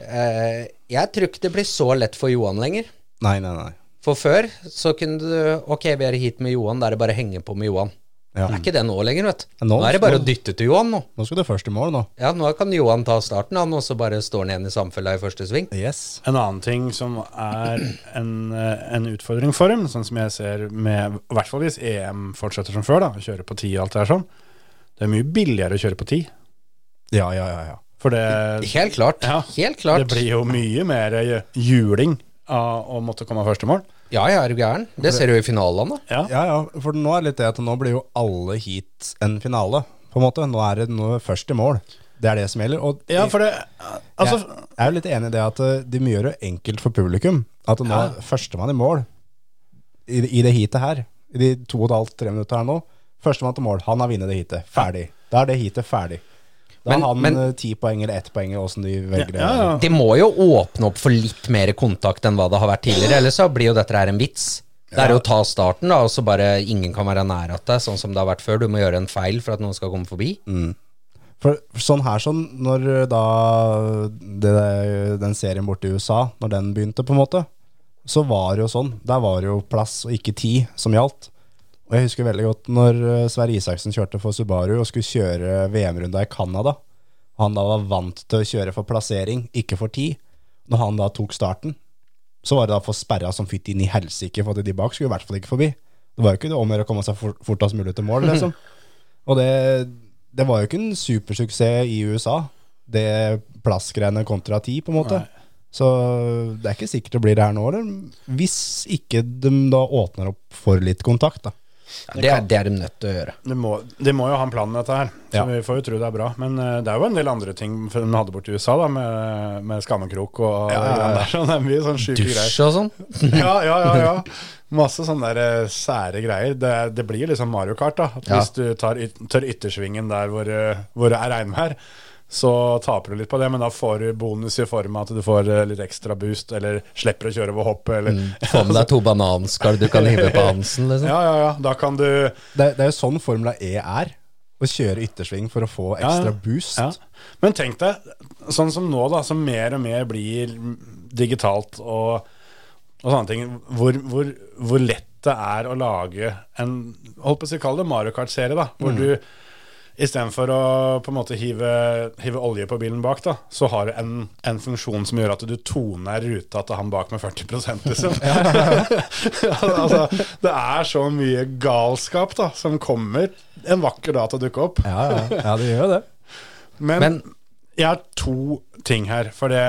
Speaker 5: øh, jeg tror ikke det blir så lett for Johan lenger.
Speaker 4: Nei, nei, nei.
Speaker 5: For før så kunne du Ok, vi er i heat med Johan, da er det bare å henge på med Johan.
Speaker 4: Ja.
Speaker 5: Det er ikke det nå lenger, vet du.
Speaker 4: Nå-
Speaker 5: Nå er det bare
Speaker 4: nå-
Speaker 5: å dytte til Johan nå.
Speaker 4: Nå skal du først i mål, nå.
Speaker 5: Ja, nå kan Johan ta starten, han, og så bare står han igjen i samfella i første sving.
Speaker 4: Yes.
Speaker 3: En annen ting som er en, eh, en utfordring for dem, sånn som jeg ser med i hvert fall hvis EM fortsetter som før, da, å kjøre på ti og alt det her sånn, det er mye billigere å kjøre på ti.
Speaker 4: Ja, ja, ja. ja.
Speaker 3: For det,
Speaker 5: Helt klart.
Speaker 3: Ja,
Speaker 5: Helt
Speaker 3: det
Speaker 5: klart.
Speaker 3: blir jo mye mer eh, juling av å måtte komme første mål.
Speaker 5: Ja, ja, er du gæren? Det ser du jo i finalene.
Speaker 3: Ja.
Speaker 4: Ja, ja, for nå er det litt det at nå blir jo alle hit en finale, på en måte. Nå er det nå er det først i mål. Det er det som gjelder. Og
Speaker 3: Ja, for det Altså,
Speaker 4: jeg, jeg er jo litt enig i det at eh, de gjør det enkelt for publikum. At nå er førstemann i mål i, det- i det heatet her, i de to og et halvt, tre minutter her nå Førstemann til mål, han har vunnet det heatet. Ferdig. Da er det heatet ferdig. Da
Speaker 5: Men-
Speaker 4: har han
Speaker 5: men-
Speaker 4: eh, ti poeng eller ett poeng, eller åssen de velger det.
Speaker 3: ja, ja.
Speaker 5: De må jo åpne opp for litt mer kontakt enn hva det har vært tidligere, ellers så blir jo dette her en vits. Det er jo å ta starten, da, og så bare ingen kan være nær at deg, sånn som det har vært før. Du må gjøre en feil for at noen skal komme forbi.
Speaker 4: For, for sånn her sånn, når eh, da det, den serien borte i USA, når den begynte på en måte, så var det jo sånn. Der var det jo plass og ikke tid som gjaldt. Og Og jeg husker veldig godt når eh, Sverre Isaksen kjørte for Subaru og skulle kjøre VM-runda i Canada. Han da var vant til å kjøre for plassering, ikke for tid. Når han da tok starten, så var det da for sperra som fytt inn i helsike, for at de bak skulle i hvert fall ikke forbi. Det var jo ikke det om å gjøre å komme seg for- fortest mulig til mål, liksom. Og det, det var jo ikke en supersuksess i USA, det plassgreiene kontra ti, på en måte. Så det er ikke sikkert det blir det her nå, eller? Hvis ikke de da åpner opp for litt kontakt, da.
Speaker 5: Det er, det er de nødt til å gjøre.
Speaker 3: De må, de må jo ha en plan med dette her, så
Speaker 4: Ja.
Speaker 3: vi får jo tro det er bra. Men eh, det er jo en del andre ting for de hadde borti USA, da, med, med skammekrok og ja,
Speaker 4: ja, ja.
Speaker 3: Der, sånn, det er mye sånn sjuke greier.
Speaker 5: Dusj og sånn.
Speaker 3: Ja, ja, ja, ja. Masse sånne der, eh, sære greier. Det, er- det blir jo liksom Mario Kart, da. At
Speaker 5: Ja.
Speaker 3: Hvis du tar yt, tør yttersvingen der hvor, eh, hvor det er regnvær, så taper du litt på det, men da får du bonus i form av at du får eh, litt ekstra boost, eller slipper å kjøre over hoppet, eller
Speaker 5: Få med deg to bananskall du kan hive på Hansen, liksom.
Speaker 3: Ja, ja, ja. Da kan du
Speaker 4: Det, det er jo sånn Formula E er. Å kjøre yttersving for å få ekstra boost.
Speaker 3: Ja. Men tenk deg, sånn som nå, da, som mer og mer blir digitalt og, og sånne ting, hvor, hvor, hvor lett det er å lage en Holdt på å si kall det Mario Kart-serie, da. Hvor du istedenfor å på en måte hive, hive olje på bilen bak, da, så har du en, en funksjon som gjør at du toner ruta til han bak med 40 liksom. altså, det er så mye galskap da, som kommer en vakker dag til å dukke opp.
Speaker 4: Ja, ja, ja, det gjør jo det.
Speaker 5: Men
Speaker 3: Jeg har to ting her, for det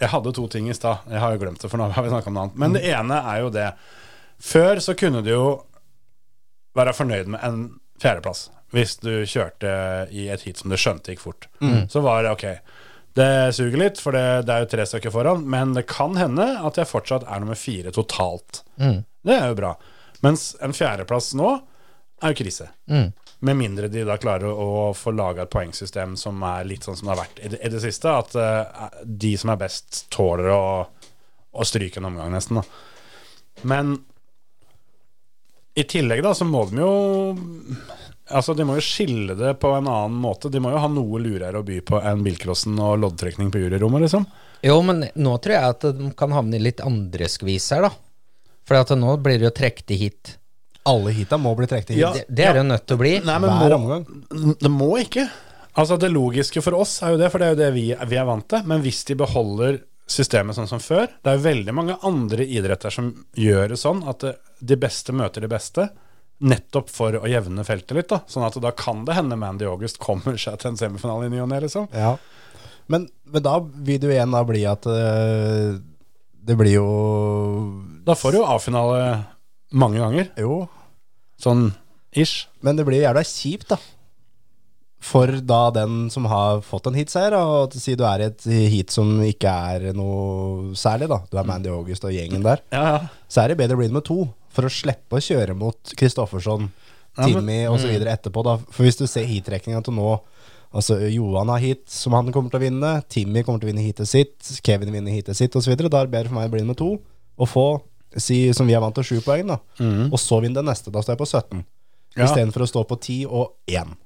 Speaker 3: Jeg hadde to ting i stad. Jeg har jo glemt det, for nå har vi snakka om noe annet. Men det ene er jo det. Før så kunne du jo være fornøyd med en fjerdeplass hvis du kjørte i et heat som du skjønte gikk fort. Så var det ok. Det suger litt, for det, det er jo tre stykker foran, men det kan hende at jeg fortsatt er nummer fire totalt. Det er jo bra. Mens en fjerdeplass nå er jo krise. Med mindre de da klarer å få laga et poengsystem som er litt sånn som det har vært i det, i det siste. At eh, de som er best, tåler å, å stryke en omgang, nesten. Da. Men i tillegg da, så må de jo Altså, de må jo skille det på en annen måte. De må jo ha noe lurere å by på enn bilcrossen og loddtrekning på juryrommet, liksom.
Speaker 5: Jo, men nå tror jeg at de kan havne i litt andre skvis her, da. For at nå blir det jo trukket hit.
Speaker 4: Alle hita må bli trukket hit.
Speaker 3: Ja.
Speaker 5: Det, det er det jo nødt til å bli.
Speaker 3: Nei, men
Speaker 4: Hver
Speaker 3: må,
Speaker 4: omgang.
Speaker 3: Det må ikke. Altså Det logiske for oss er jo det, for det er jo det vi, vi er vant til. Men hvis de beholder systemet sånn som før Det er jo veldig mange andre idretter som gjør det sånn at det, de beste møter de beste. Nettopp for å jevne feltet litt. da Sånn at da kan det hende Mandy August kommer seg til en semifinale i ny og ne. Liksom.
Speaker 4: Ja. Men, men da vil det jo igjen da bli at eh, det blir jo
Speaker 3: Da får du jo A-finale mange ganger.
Speaker 4: Jo,
Speaker 3: Sånn ish.
Speaker 4: men det blir jævla kjipt, da. For da den som har fått en hitseier, og til å si du er i et heat som ikke er noe særlig, da. Du er Mandy August og gjengen der.
Speaker 3: Ja, ja.
Speaker 4: Så er det bedre å bli nummer to, for å slippe å kjøre mot Kristoffersson,
Speaker 3: men-
Speaker 4: Timmy og så videre etterpå. Da. For hvis du ser heatrekninga til nå Altså Johan har heat som han kommer til å vinne, Timmy kommer til å vinne heatet sitt, Kevin vinner heatet sitt osv. Da er det bedre for meg å bli nummer to og få, si, som vi er vant til, sju poeng, da. Og så vinne det neste. Da står jeg på 17.
Speaker 3: Ja.
Speaker 4: Istedenfor å stå på 10 og 1.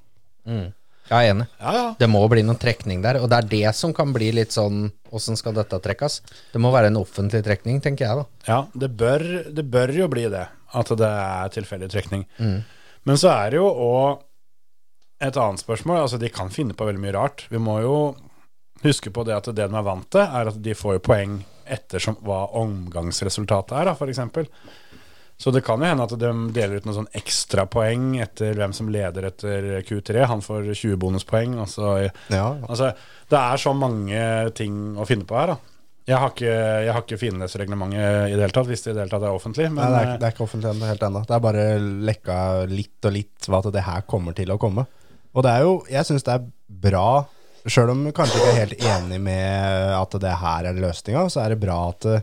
Speaker 5: Jeg er enig.
Speaker 3: ja, ja.
Speaker 5: Det må bli noen trekning der, og det er det som kan bli litt sånn Åssen skal dette trekkes? Det må være en offentlig trekning, tenker jeg, da.
Speaker 3: Ja, det bør, det bør jo bli det, at det er tilfeldig trekning. Men så er det jo òg et annet spørsmål. Altså, de kan finne på veldig mye rart. Vi må jo huske på det at det de er vant til, er at de får jo poeng ettersom hva omgangsresultatet er, da, f.eks. Så det kan jo hende at de deler ut noen sånn ekstrapoeng etter hvem som leder etter Q3. Han får 20 bonuspoeng, og så
Speaker 4: Ja,
Speaker 3: Altså, det er så mange ting å finne på her, da. Jeg har ikke, jeg har ikke finlesreglementet i det hele tatt, hvis det i det hele tatt er offentlig. Men
Speaker 4: Nei, det, er, ikke- det er ikke offentlig ennå, helt ennå. Det er bare lekka litt og litt hva at det her kommer til å komme. Og det er jo, jeg syns det er bra, sjøl om jeg kanskje ikke er helt enig med at det her er løsninga, så er det bra at det,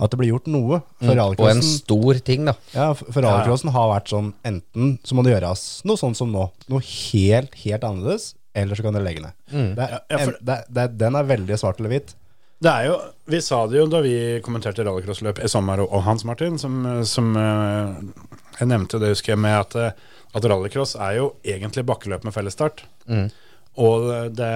Speaker 4: at det blir gjort noe. For
Speaker 3: Mm,
Speaker 5: Mm. Og en
Speaker 4: rallycrossen
Speaker 5: stor ting, da.
Speaker 4: ja, for- for rallycrossen har vært sånn enten så må det gjøres noe sånn som nå, noe helt, helt annerledes, eller så kan det legge ned. Det er,
Speaker 3: Ja, for-
Speaker 4: en- det, er- det, er- den er veldig svart eller hvitt.
Speaker 3: Det er jo, Vi sa det jo da vi kommenterte rallycrossløp i sommer, og og Hans Martin, som, som eh, jeg nevnte, det husker jeg, med at, eh, at rallycross er jo egentlig bakkeløp med fellesstart.
Speaker 4: Mm.
Speaker 3: Og eh, det,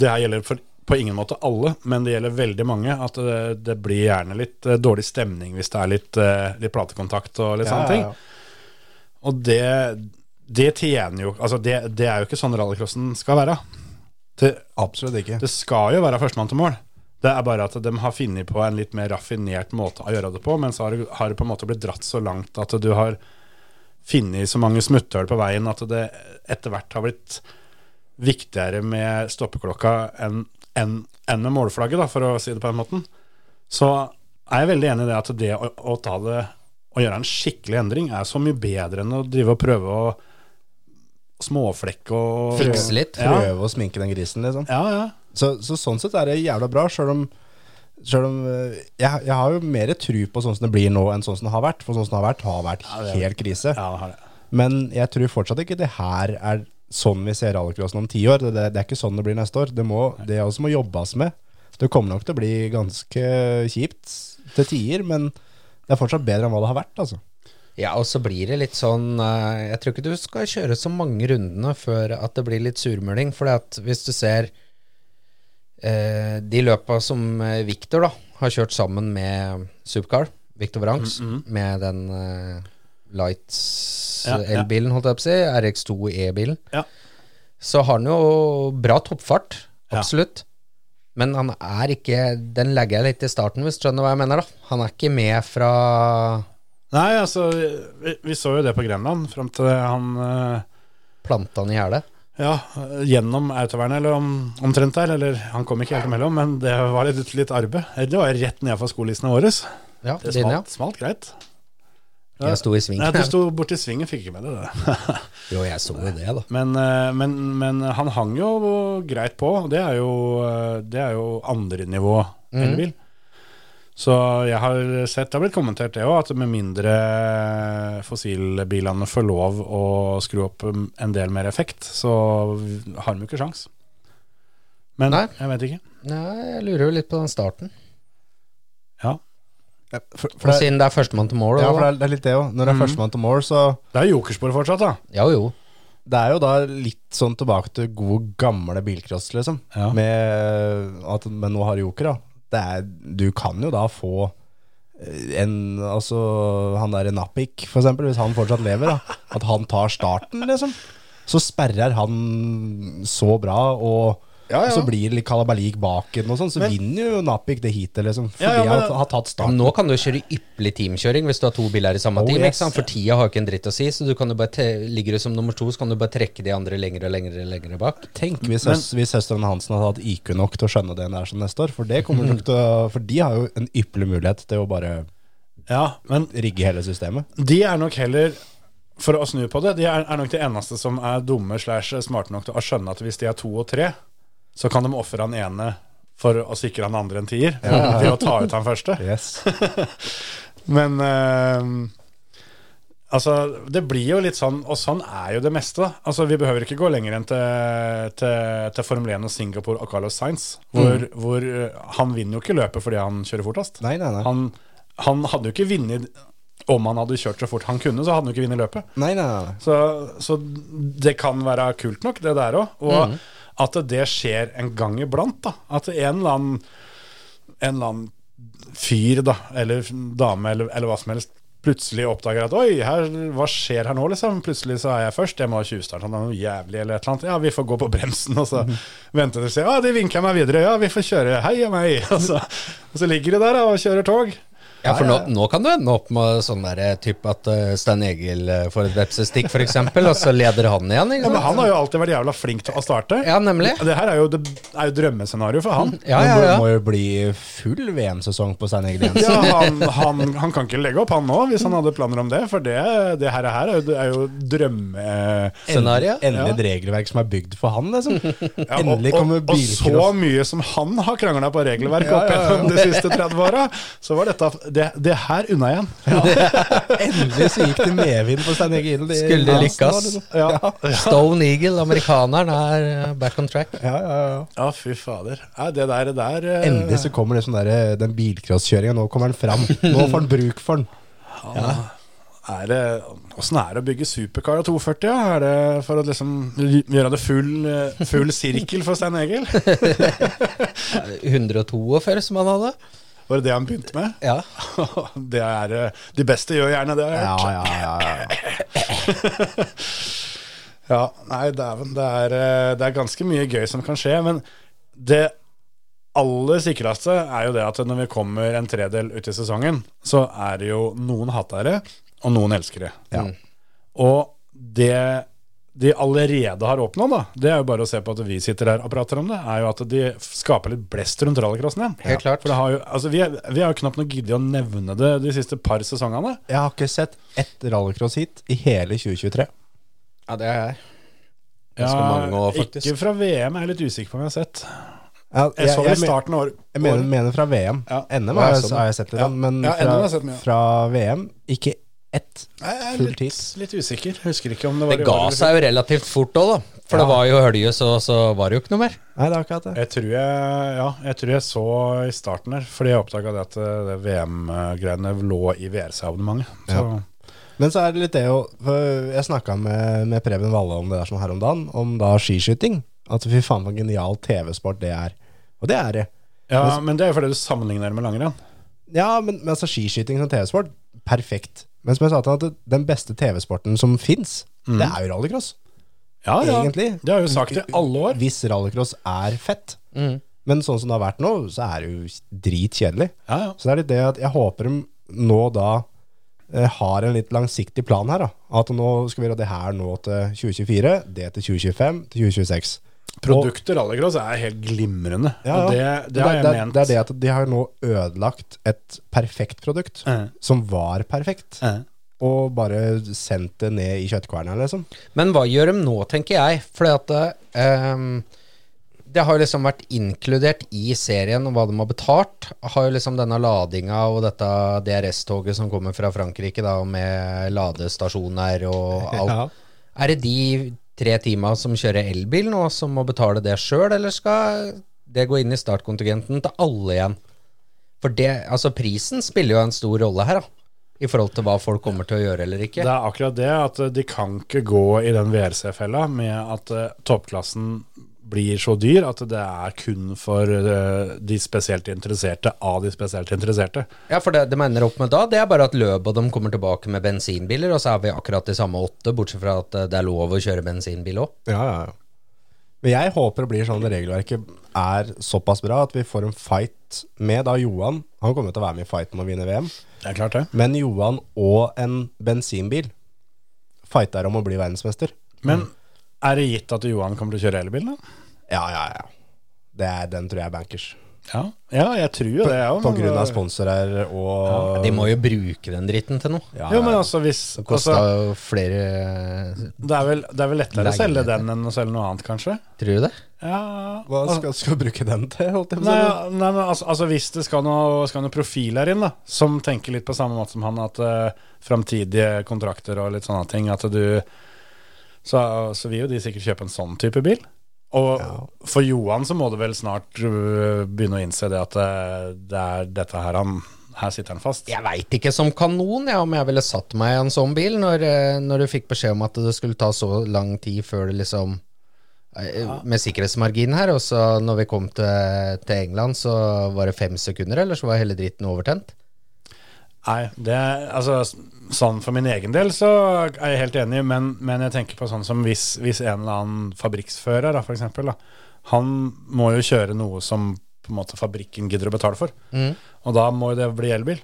Speaker 3: det her gjelder for, på ingen måte alle, men det gjelder veldig mange. At det, det blir gjerne litt eh, dårlig stemning hvis det er litt, eh, litt eh, platekontakt og litt
Speaker 4: Ja,
Speaker 3: sånne
Speaker 4: ja,
Speaker 3: ting.
Speaker 4: ja.
Speaker 3: Og det, det tjener jo Altså, det, det er jo ikke sånn rallycrossen skal være. Det,
Speaker 4: Absolutt ikke.
Speaker 3: det skal jo være førstemann til mål. Det er bare at de har funnet på en litt mer raffinert måte å gjøre det på, men så har, det- har det på en måte blitt dratt så langt at du har funnet så mange smutthull på veien at det etter hvert har blitt viktigere med stoppeklokka enn enn- enn med målflagget, da, for å si det på den måten. Så er jeg veldig enig i det at det å, å ta det å gjøre en skikkelig endring er så mye bedre enn å drive og prøve å småflekke og
Speaker 5: Fikse litt.
Speaker 3: Ja,
Speaker 4: Prøve å sminke den grisen, liksom.
Speaker 3: ja. ja.
Speaker 4: Så, så sånn sett er det jævla bra, sjøl om, selv om eh, jeg, jeg har jo mer tru på sånn som det blir nå, enn sånn som det har vært. For sånn som det har vært, har vært helt krise.
Speaker 3: ja det har det.
Speaker 4: Men jeg tror fortsatt ikke det her er sånn vi ser rallycrossen om ti år. Det, det, det er ikke sånn det blir neste år. Det, må, det også må jobbes med. Det kommer nok til å bli ganske kjipt til tider, men det er fortsatt bedre enn hva det har vært. altså.
Speaker 5: Ja, og så blir det litt sånn eh, Jeg tror ikke du skal kjøre så mange rundene før at det blir litt surmuling. For hvis du ser eh, de løpa som eh, Victor da, har kjørt sammen med Supercar, Victor Vrangs,
Speaker 3: Mm,
Speaker 5: med den eh,
Speaker 3: Ja, ja.
Speaker 5: Lights-elbilen, holdt jeg på å si, RX2 E-bilen,
Speaker 3: Ja.
Speaker 5: så har han jo bra toppfart.
Speaker 3: Ja.
Speaker 5: Absolutt. Men han er ikke Den legger jeg litt i starten, hvis du skjønner hva jeg mener. da Han er ikke med fra
Speaker 3: Nei, altså, vi, vi så jo det på Grenland, fram til han eh,
Speaker 5: plantene i gjerdet.
Speaker 3: Ja, gjennom autovernet, eller om, omtrent der. Eller han kom ikke helt imellom, men det var litt, litt arbeid. Det var jo rett nedfor skolissene våre.
Speaker 5: Ja,
Speaker 3: Det
Speaker 5: din, ja.
Speaker 3: smalt, smalt greit.
Speaker 5: Jeg sto i sving.
Speaker 3: Nei, du sto borti svingen, fikk ikke med deg det.
Speaker 5: Jo, jeg så jo det, da.
Speaker 3: Men, eh, men, men han hang jo greit på. og Det er jo, eh, det er jo andre nivå elbil. Så jeg har sett, det har blitt kommentert det òg, at med mindre fossilbilene får lov å skru opp en del mer effekt, så har de jo ikke sjans. Men
Speaker 5: Nei.
Speaker 3: jeg vet ikke.
Speaker 5: Nei, jeg lurer jo litt på den starten.
Speaker 3: Ja.
Speaker 4: For,
Speaker 5: Og
Speaker 4: for det,
Speaker 5: siden det er førstemann til mål.
Speaker 4: ja,
Speaker 5: Ja,
Speaker 4: for det er, det er litt det òg. Når det er førstemann til mål, så
Speaker 3: Det er jokerspor fortsatt, da.
Speaker 5: ja jo.
Speaker 4: Det er jo da litt sånn tilbake til gode, gamle bilcross, liksom.
Speaker 3: Ja.
Speaker 4: Med at, men nå har du Joker, da. Det er, du kan jo da få eh, en Altså, han derre Napik, for eksempel, hvis han fortsatt lever, da. At han tar starten, liksom. Så sperrer han så bra, og
Speaker 3: Ja, ja.
Speaker 4: så blir det litt kalabalik bak den, og sånn. Så vinner jo Napik det heatet, liksom. Fordi
Speaker 3: Ja, ja, men-
Speaker 4: han har tatt
Speaker 5: Men
Speaker 4: starten.
Speaker 5: nå kan du jo kjøre ypperlig teamkjøring hvis du har to biler i samme
Speaker 4: Oh,
Speaker 5: team.
Speaker 4: yes.
Speaker 5: Ikke sant? For tida har jo ikke en dritt å si, så du kan jo bare te ligger du som nummer to, så kan du bare trekke de andre lenger og lenger og lenger bak.
Speaker 4: Tenk hvis, søs, hvis søsteren Hansen hadde hatt IQ nok til å skjønne det der som neste år. For, det kommer nok til å, for de har jo en ypperlig mulighet til å bare
Speaker 3: Ja, men
Speaker 4: rigge hele systemet.
Speaker 3: De er nok heller For å snu på det De er, er nok de eneste som er dumme Slash smarte nok til å skjønne at hvis de er to og tre Så kan de offre han ene For å sikre han andre en tier Ved å ta ut han første
Speaker 4: Yes.
Speaker 3: Men eh, Altså, det blir jo litt sånn Og sånn er jo det meste da. Altså, vi behøver ikke gå lenger enn til Til, til Formel 1 og Singapore og Carlos Sainz Hvor, hvor eh, han vinner jo ikke løpet Fordi han kjører fortest
Speaker 4: Mm. Nei, nei, nei.
Speaker 3: Han, han hadde jo ikke vinnet Om han hadde kjørt så fort han kunne Så hadde han jo ikke vinnet løpet
Speaker 4: Nei, nei, nei.
Speaker 3: så, så det kan være kult nok, det der òg. Og
Speaker 4: Mm.
Speaker 3: at det skjer en gang iblant. da At en eller annen, en eller annen fyr da eller dame eller, eller hva som helst plutselig oppdager at Oi, her, hva skjer her nå, liksom? Plutselig så er jeg først, jeg må ha tjuvstart, han er noe jævlig eller et eller annet. Ja, vi får gå på bremsen, og
Speaker 5: Mhm.
Speaker 3: så venter de og sier Ja, de vinker meg videre, ja, vi får kjøre, hei og meg. Og så, og så ligger de der da, og kjører tog.
Speaker 5: Ja, for nå, nå kan du ende opp med sånn derre type at eh, Stein Egil eh, får et vepsestikk, f.eks., og så leder han igjen.
Speaker 3: Ja,
Speaker 5: Ikke
Speaker 3: men
Speaker 5: sant?
Speaker 3: han har jo alltid vært jævla flink til å starte.
Speaker 5: Ja, nemlig.
Speaker 3: Det her er jo, det er jo drømmescenario for han.
Speaker 5: Ja, ja,
Speaker 4: Det
Speaker 5: ja.
Speaker 4: må jo bli full VM-sesong på Stein Egil Jensen.
Speaker 3: Ja, han, han, han kan ikke legge opp han nå, hvis han hadde planer om det. For det, det her, er jo, det er jo drømme...
Speaker 5: Scenario?
Speaker 4: Endelig et regelverk som er bygd for han, liksom.
Speaker 3: Ja, og-
Speaker 4: Endelig kommer
Speaker 3: og, og så
Speaker 4: bilcross.
Speaker 3: mye som han har krangla på regelverk
Speaker 4: Ja,
Speaker 3: opp
Speaker 4: ja, ja.
Speaker 3: gjennom de siste 30 åra, så var dette Det, det her unna igjen.
Speaker 4: Endelig så gikk det medvind på Stein Egil. i-
Speaker 5: Skulle de
Speaker 4: Hansen
Speaker 5: lykkes?
Speaker 4: nå, liksom.
Speaker 3: Ja.
Speaker 5: Stone Eagle, amerikaneren, er eh, back on track.
Speaker 4: Ja, ja, ja.
Speaker 3: ja, fy fader. Nei, det der, det der eh,
Speaker 4: Endelig så kommer det sånn der, den bilcrosskjøringa. Nå kommer den fram. Nå får han bruk for den.
Speaker 3: er det, Åssen er det å bygge supercar av 240? Ja? Er det for å liksom gjøre det full, eh, full sirkel for Stein Egil?
Speaker 5: 142 som han hadde.
Speaker 3: Var det det han begynte med?
Speaker 5: Ja.
Speaker 3: det er, eh, de beste gjør gjerne det. har jeg
Speaker 4: Ja,
Speaker 3: hørt.
Speaker 4: ja, ja. ja.
Speaker 3: Ja, nei, dæven. Det, er, eh, det er ganske mye gøy som kan skje, men det aller sikreste er jo det at når vi kommer en tredel ut i sesongen, så er det jo noen hatere og noen elskere.
Speaker 5: Mm.
Speaker 3: Og det de allerede har oppnå, da, det er jo bare å se på at vi sitter her og prater om det, er jo at de f- skaper litt blest rundt rallycrossen igjen.
Speaker 5: Helt klart.
Speaker 3: For det har jo, altså, vi, er, vi har jo knapt nok giddet å nevne det de siste par sesongene.
Speaker 4: Jeg har ikke sett ett rallycross hit i hele 2023.
Speaker 5: Ja, det er jeg. Ganske mange år, faktisk.
Speaker 3: Ikke fra VM, jeg er litt usikker på om jeg har sett.
Speaker 4: Jeg,
Speaker 3: Jeg så det i
Speaker 4: men-
Speaker 3: starten av året.
Speaker 4: jeg mener, mener fra VM.
Speaker 3: Ja.
Speaker 4: NM
Speaker 3: Ja,
Speaker 4: har
Speaker 3: jeg
Speaker 4: jeg,
Speaker 3: så
Speaker 4: har jeg sett litt,
Speaker 3: Ja.
Speaker 4: men
Speaker 3: Ja, NM har
Speaker 4: fra,
Speaker 3: jeg sett mye, ja.
Speaker 4: fra VM ikke ett
Speaker 3: Jeg er
Speaker 4: full
Speaker 3: litt,
Speaker 4: tid.
Speaker 3: litt usikker. Jeg Husker ikke om det var i
Speaker 5: Det
Speaker 3: år
Speaker 5: ga
Speaker 3: eller-
Speaker 5: seg jo relativt fort òg, da. For det var jo hølje, så, så var det jo ikke noe mer.
Speaker 4: Nei, det har ikke hatt det.
Speaker 3: Jeg tror jeg, ja, jeg tror jeg så i starten her, fordi jeg oppdaga det at eh, det VM-greiene lå i VRC-abonnementet. Så
Speaker 4: Men så er det litt det jo for Jeg snakka med, med Preben Valle om det der sånn her om dagen, om da skiskyting. At fy faen for genial TV-sport det er. Og det er det.
Speaker 3: ja, men det er jo fordi du sammenligner det med langrenn.
Speaker 4: Ja, men, men altså skiskyting som TV-sport, perfekt. Men som jeg sa til han, at den beste TV-sporten som fins, det er jo rallycross.
Speaker 3: Ja, ja.
Speaker 4: Egentlig.
Speaker 3: Det har jeg jo sagt i alle år. Mm.
Speaker 4: Hvis rallycross er fett. Men sånn som det har vært nå, så er det jo dritkjedelig.
Speaker 3: Ja, ja.
Speaker 4: Så det er litt det at jeg håper de nå da eh, har en litt langsiktig plan her. da. At nå skal vi gjøre det her nå til 2024, det til 2025, til 2026.
Speaker 3: Produktet rallycross er helt glimrende.
Speaker 4: Ja,
Speaker 3: Og det,
Speaker 4: ja.
Speaker 3: det har jeg
Speaker 4: det, er-
Speaker 3: ment.
Speaker 4: Det er det at de har nå ødelagt et perfekt produkt,
Speaker 3: Eh.
Speaker 4: som var perfekt,
Speaker 3: Eh.
Speaker 4: og bare sendt det ned i kjøttkverna, liksom.
Speaker 5: Men hva gjør de nå, tenker jeg? Fordi at ehm, det har jo liksom vært inkludert i serien og hva de har betalt. Har jo liksom denne ladinga og dette DRS-toget som kommer fra Frankrike, da, med ladestasjoner og alt.
Speaker 4: Ja.
Speaker 5: Er det de tre tima som kjører elbil nå, som må betale det sjøl, eller skal det gå inn i startkontingenten til alle igjen? For det, altså prisen spiller jo en stor rolle her, da. I forhold til hva folk kommer til å gjøre eller ikke.
Speaker 3: Det er akkurat det, at eh, de kan ikke gå i den VRC-fella med at eh, toppklassen blir så dyr at det er kun for eh, de spesielt interesserte av de spesielt interesserte.
Speaker 5: Ja, for det de ender opp med da, det er bare at løp og de kommer tilbake med bensinbiler, og så er vi akkurat de samme åtte, bortsett fra at eh, det er lov å kjøre bensinbil òg.
Speaker 4: Ja, ja, ja. Men jeg håper det blir sånn at regelverket er såpass bra at vi får en fight med da Johan. Han kommer til å være med i fighten om å vinne VM.
Speaker 3: Det er klart det.
Speaker 4: Men Johan og en bensinbil fighter om å bli verdensmester.
Speaker 3: Men er det gitt at Johan kommer til å kjøre elbil, da?
Speaker 4: Ja, ja, ja. Det er, den tror jeg er bankers.
Speaker 3: Ja, ja eh, jeg tror jo det, jeg òg.
Speaker 4: På grunn av sponsorer og
Speaker 5: De må jo bruke den dritten til noe.
Speaker 4: Ja,
Speaker 3: Jo, men altså, hvis
Speaker 5: Det kosta
Speaker 3: altså,
Speaker 5: jo flere eh,
Speaker 3: det, er vel, det er vel lettere å selge
Speaker 5: Leiligheter.
Speaker 3: den enn å selge noe annet, kanskje?
Speaker 5: Tror du det?
Speaker 3: Ja altså,
Speaker 4: Hva skal, skal du bruke den til? Holdt jeg på å
Speaker 3: Nei,
Speaker 4: si?
Speaker 3: ja, nei men altså, altså hvis det skal noe, skal noe profil her inn, da, som tenker litt på samme måte som han, at uh, framtidige kontrakter og litt sånne ting, at du så, så vil jo de sikkert kjøpe en sånn type bil. Og for Johan så må du vel snart øh, begynne å innse det at øh, det er dette her han Her sitter han fast.
Speaker 5: Jeg veit ikke som kanon jeg, om jeg ville satt meg i en sånn bil, når, eh, når du fikk beskjed om at det skulle ta så lang tid før det liksom eh, Med sikkerhetsmargin her, og så når vi kom til, til England, så var det fem sekunder, eller så var hele dritten overtent.
Speaker 3: Nei, det er, altså s- sånn for min egen del så er jeg helt enig, men, men jeg tenker på sånn som hvis, hvis en eller annen fabrikksfører, da, for eksempel, da, han må jo kjøre noe som på en måte fabrikken gidder å betale for.
Speaker 5: Mm.
Speaker 3: Og da må jo det bli elbil.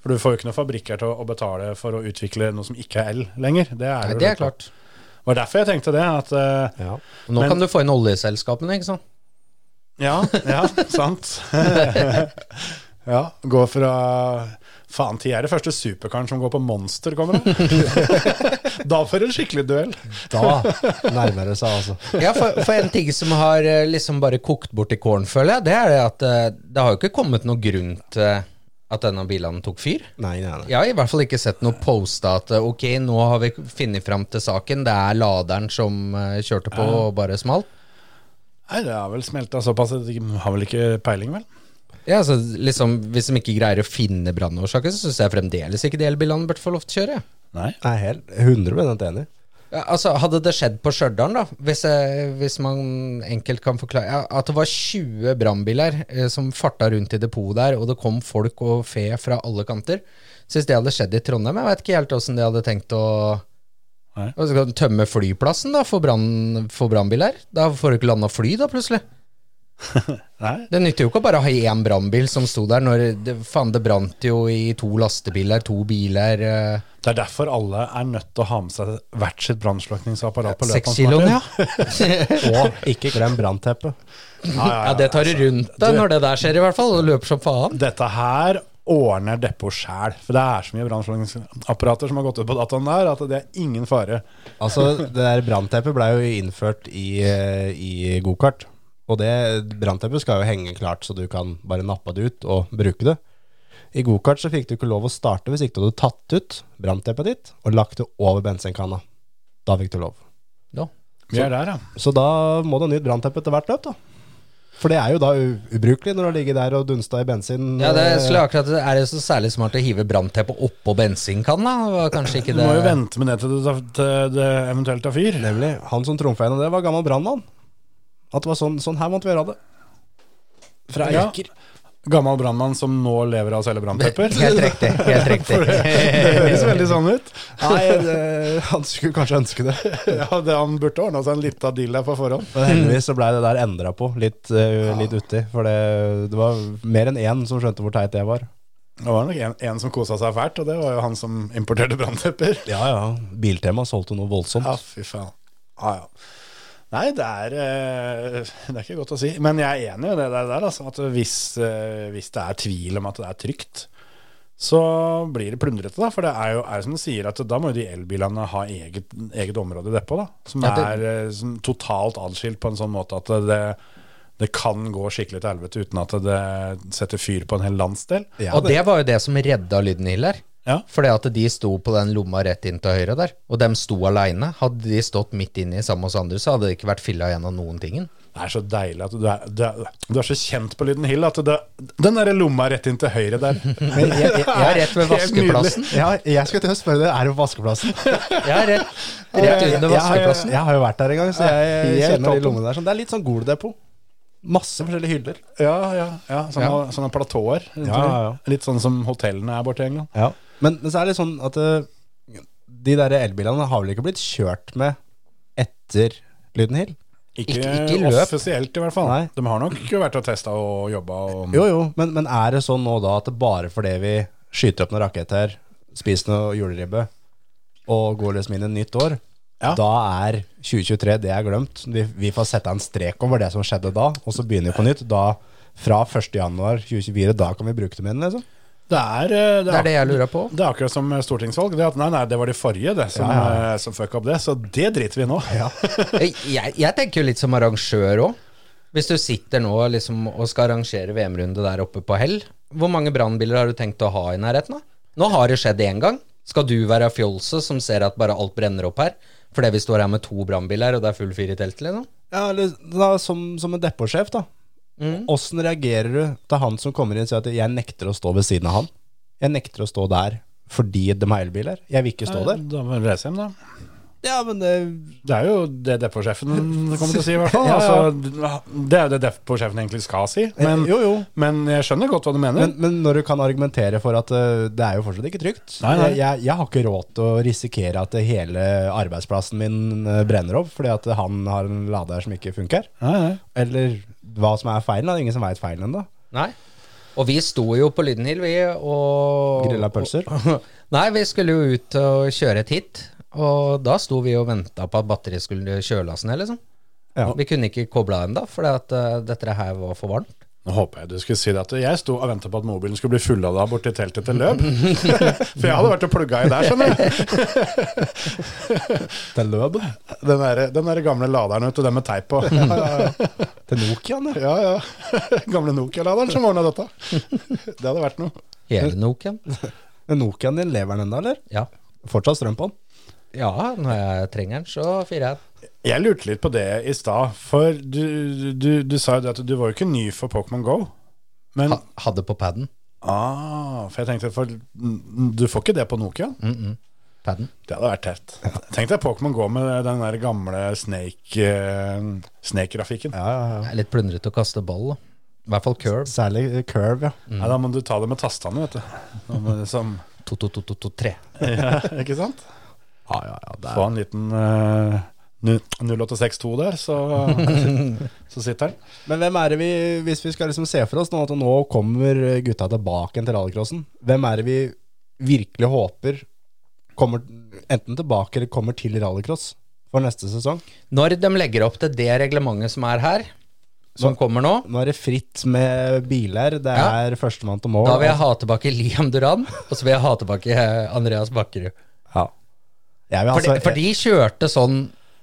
Speaker 3: For du får jo ikke noen fabrikker til å, å betale for å utvikle noe som ikke er el lenger. Det er,
Speaker 5: Nei,
Speaker 3: jo
Speaker 5: det er
Speaker 3: klart.
Speaker 5: klart.
Speaker 3: Det var derfor jeg tenkte det, at eh,
Speaker 4: Ja.
Speaker 5: Og Nå
Speaker 3: Men-
Speaker 5: kan du få inn oljeselskapene, ikke sant?
Speaker 3: Ja, ja, sant. ja, gå fra Faen, ti er det første superkaren som går på Monster, kommer det. da får du en skikkelig duell.
Speaker 4: Da nærmer det seg, altså.
Speaker 5: Ja, for, for en ting som har eh, liksom bare kokt bort i kålen, føler jeg, det er det at eh, det har jo ikke kommet noen grunn til at denne bilene tok fyr.
Speaker 4: Nei, nei, nei.
Speaker 5: Jeg har i hvert fall ikke sett noe posta at eh, ok, nå har vi funnet fram til saken, det er laderen som eh, kjørte på og bare smalt.
Speaker 3: Nei, det har vel smelta såpass at de har vel ikke peiling, vel?
Speaker 5: Ja, altså liksom, Hvis de ikke greier å finne brannårsaken, så syns jeg fremdeles ikke de elbilene burde få lov til å kjøre.
Speaker 3: Nei.
Speaker 4: Jeg er helt 100 enig.
Speaker 5: Ja, Altså, Hadde det skjedd på Stjørdal, da, hvis, eh, hvis man enkelt kan forklare ja, At det var 20 brannbiler eh, som farta rundt i depot der, og det kom folk og fe fra alle kanter. Så hvis det hadde skjedd i Trondheim, jeg vet ikke helt åssen de hadde tenkt å
Speaker 3: Nei.
Speaker 5: Og så skal du tømme flyplassen da for brann- for brannbiler. Da får du ikke landa fly, da, plutselig.
Speaker 3: Nei.
Speaker 5: Det nytter jo ikke å bare ha én brannbil som sto der når det, Faen, det brant jo i to lastebiler, to biler eh,
Speaker 3: Det er derfor alle er nødt til å ha med seg hvert sitt brannslukningsapparat på
Speaker 5: Seks
Speaker 3: løpet.
Speaker 5: kiloen, ja.
Speaker 4: Og ikke glem brannteppet.
Speaker 5: Ja, det tar du rundt deg når det der skjer, i hvert fall. Og løper som faen.
Speaker 3: Dette her ordner depot sjæl. For det er så mye brannslukningsapparater som har gått ut på datoen der, at det er ingen fare.
Speaker 4: Altså, det der brannteppet ble jo innført i, eh, i gokart. Og det brannteppet skal jo henge klart, så du kan bare nappe det ut og bruke det. I gokart så fikk du ikke lov å starte hvis ikke du hadde tatt ut brannteppet ditt og lagt det over bensinkanna. Da fikk du lov.
Speaker 5: Ja.
Speaker 3: Vi er der, ja.
Speaker 4: Så da må du ha nytt brannteppe til hvert løp, da. For det er jo da u- ubrukelig når du har ligget der og dunsta i bensin.
Speaker 5: Ja, det
Speaker 4: eh,
Speaker 5: skulle jeg akkurat Er det så særlig smart å hive brannteppet oppå bensinkanna? Det var Kanskje ikke
Speaker 3: Du
Speaker 5: det
Speaker 3: må jo vente med det til det, til det eventuelt tar fyr.
Speaker 4: Nemlig. Han som trumfa gjennom det, var gammel brannmann. At det var sånn, sånn her måtte vi gjøre det. Fra
Speaker 3: Ja.
Speaker 4: Eiker.
Speaker 3: Gammel brannmann som nå lever av å selge branntepper.
Speaker 5: Helt riktig. Helt riktig.
Speaker 3: Det høres veldig sånn ut.
Speaker 4: Nei, det, han skulle kanskje ønske det.
Speaker 3: Ja, det, Han burde ordna seg en lita deal der på forhånd.
Speaker 4: Men heldigvis så blei det der endra på litt, eh, litt uti. For det, det var mer enn én som skjønte hvor teit det var.
Speaker 3: Det var nok en, en som kosa seg fælt, og det var jo han som importerte branntepper.
Speaker 4: Ja, ja. Biltema solgte noe voldsomt.
Speaker 3: Ja, fy faen. Ja, ja. Nei, det er, eh, det er ikke godt å si. Men jeg er enig i det der, der altså, at hvis, eh, hvis det er tvil om at det er trygt, så blir det plundrete, da. For det er jo er jo som du sier, at da må jo de elbilene ha eget, eget område i depot, da. Som
Speaker 5: Ja, det-
Speaker 3: er eh, som totalt atskilt på en sånn måte at det, det kan gå skikkelig til helvete uten at det setter fyr på en hel landsdel.
Speaker 4: Ja,
Speaker 5: Og det var jo det som redda Lydenhiler.
Speaker 3: Ja.
Speaker 5: Fordi at de sto på den lomma rett inn til høyre der, og dem sto aleine. Hadde de stått midt inni sammen med oss andre, så hadde det ikke vært filla igjen av noen tingen.
Speaker 3: Det er så deilig at du er, du er, du er så kjent på Lyden Hill at det, den der lomma rett inn til høyre der
Speaker 5: Jeg, jeg, jeg er rett ved
Speaker 3: Helt nydelig.
Speaker 5: vaskeplassen.
Speaker 4: Ja, jeg skal til å spørre deg, er du på vaskeplassen?
Speaker 5: Jeg er rett, rett
Speaker 4: jeg,
Speaker 5: under
Speaker 4: har,
Speaker 5: vaskeplassen.
Speaker 4: jeg har jo vært der en gang, så jeg
Speaker 3: Helt
Speaker 4: kjenner de
Speaker 3: toppen.
Speaker 4: lommene der. Sånn. Det er litt sånn Gol-depot. Masse forskjellige hyller.
Speaker 3: Ja, ja, ja Sånne, sånne platåer. rundt
Speaker 4: Ja, ja, ja.
Speaker 3: omkring. Litt sånn som hotellene er borti i England.
Speaker 4: Men, men så er det litt sånn at eh, de der elbilene har vel ikke blitt kjørt med etter Lydenhill?
Speaker 3: Ikke,
Speaker 5: ikke i løp.
Speaker 3: offisielt, i hvert fall.
Speaker 4: Nei.
Speaker 3: De har nok vært og testa og jobba. Og,
Speaker 4: Jo, jo, men, men er det sånn nå da at det bare fordi vi skyter opp noen raketter, spiser noe juleribbe og går liksom inn i et nytt år,
Speaker 3: Ja.
Speaker 4: da er 2023 det er glemt. Vi, vi får sette en strek over det som skjedde da, og så begynner vi på nytt. Da, fra 1. januar 2024, da kan vi bruke dem igjen, liksom.
Speaker 3: Det er, eh,
Speaker 5: Det er det jeg lurer på.
Speaker 3: Det er akkurat som stortingsvalg. Det at nei, nei, det var de forrige det, som, eh, som fucka opp det, så det driter vi i nå.
Speaker 5: Jeg, Eh, jeg, jeg tenker jo litt som arrangør òg. Hvis du sitter nå liksom, og skal arrangere VM-runde der oppe på hell, hvor mange brannbiler har du tenkt å ha i nærheten? da? Nå har det skjedd én gang. Skal du være fjolset som ser at bare alt brenner opp her? Fordi vi står her med to brannbiler, og det er full fyr i teltet, liksom?
Speaker 4: Ja, eller da, som, som en depotsjef, da. Åssen reagerer du til han som kommer inn og sier at 'jeg nekter å stå ved siden av han'? Jeg nekter å stå der fordi de har elbiler. Jeg vil ikke stå der.
Speaker 3: Da må vi reise hjem, da.
Speaker 4: Ja, men det,
Speaker 3: Det er jo det depotsjefen kommer til å si, i hvert fall.
Speaker 4: Ja, ja.
Speaker 3: Altså, det er jo det depotsjefen egentlig skal si. Men,
Speaker 4: Jo, jo.
Speaker 3: men jeg skjønner godt hva du mener.
Speaker 4: men, men når du kan argumentere for at eh, det er jo fortsatt ikke trygt
Speaker 3: Nei, nei.
Speaker 4: Jeg, jeg har ikke råd til å risikere at hele arbeidsplassen min eh, brenner opp fordi at han har en lader som ikke funker.
Speaker 3: Nei, nei.
Speaker 4: Eller hva som er feilen. da. Det er ingen som veit feilen ennå.
Speaker 5: Nei. Og vi sto jo på Lydenhill, vi, og
Speaker 4: Grilla pølser.
Speaker 5: Nei, vi skulle jo ut og kjøre et hit. Og da sto vi og venta på at batteriet skulle kjøles ned, liksom.
Speaker 4: Ja.
Speaker 5: Vi kunne ikke kobla ennå, for eh, dette her var for varmt.
Speaker 3: Nå håper jeg du skulle si det at jeg sto og venta på at mobilen skulle bli full av deg borti teltet til løp. For jeg hadde vært og plugga i der, skjønner du.
Speaker 4: Til løp.
Speaker 3: Den der, den der gamle laderen vet du, den med teip på.
Speaker 4: Til Nokiaen, ja.
Speaker 3: Ja, ja. Gamle Nokia-laderen som ordna dette. Det hadde vært noe.
Speaker 5: Hele Nokian.
Speaker 4: Men Nokiaen din lever den ennå, eller?
Speaker 5: Ja.
Speaker 4: Fortsatt strøm på den?
Speaker 5: ja, når jeg trenger den, så fyrer jeg den.
Speaker 3: Jeg lurte litt på det i stad, for du, du, du sa jo det at du var jo ikke ny for Pokémon Go. Men
Speaker 5: Ha, hadde på paden.
Speaker 3: Ah, for jeg tenkte for, n- Du får ikke det på Nokia?
Speaker 5: Paden.
Speaker 3: Det hadde vært tøft. Tenk deg Pokémon gå med den der gamle Snake eh, Snake-grafikken.
Speaker 4: Ja, ja, ja.
Speaker 5: Det er litt plundrete å kaste ball, da. I hvert fall curve.
Speaker 4: Særlig eh, curve, ja.
Speaker 3: Nei, Mm. da må du ta det med tastene, vet du. Da må du Som,
Speaker 5: To, to, to, to, to, tre.
Speaker 3: ja, ikke sant?
Speaker 4: Ja, ja, ja. Det
Speaker 3: Få
Speaker 4: er,
Speaker 3: en liten eh, nu- 0862 der, så, så sitter han.
Speaker 4: men hvem er det vi, hvis vi skal liksom se for oss nå at nå kommer gutta tilbake igjen til rallycrossen, hvem er det vi virkelig håper kommer enten tilbake eller kommer til rallycross for neste sesong?
Speaker 5: Når de legger opp til det reglementet som er her, som
Speaker 4: Nå-
Speaker 5: kommer nå,
Speaker 4: Nå er det fritt med biler, det
Speaker 5: Ja.
Speaker 4: er førstemann til mål.
Speaker 5: da vil jeg ha tilbake Liam Duran, og så vil jeg ha tilbake eh, Andreas Bakkerud.
Speaker 4: Ja. Jeg vil
Speaker 5: For,
Speaker 4: altså,
Speaker 5: de, for de kjørte sånn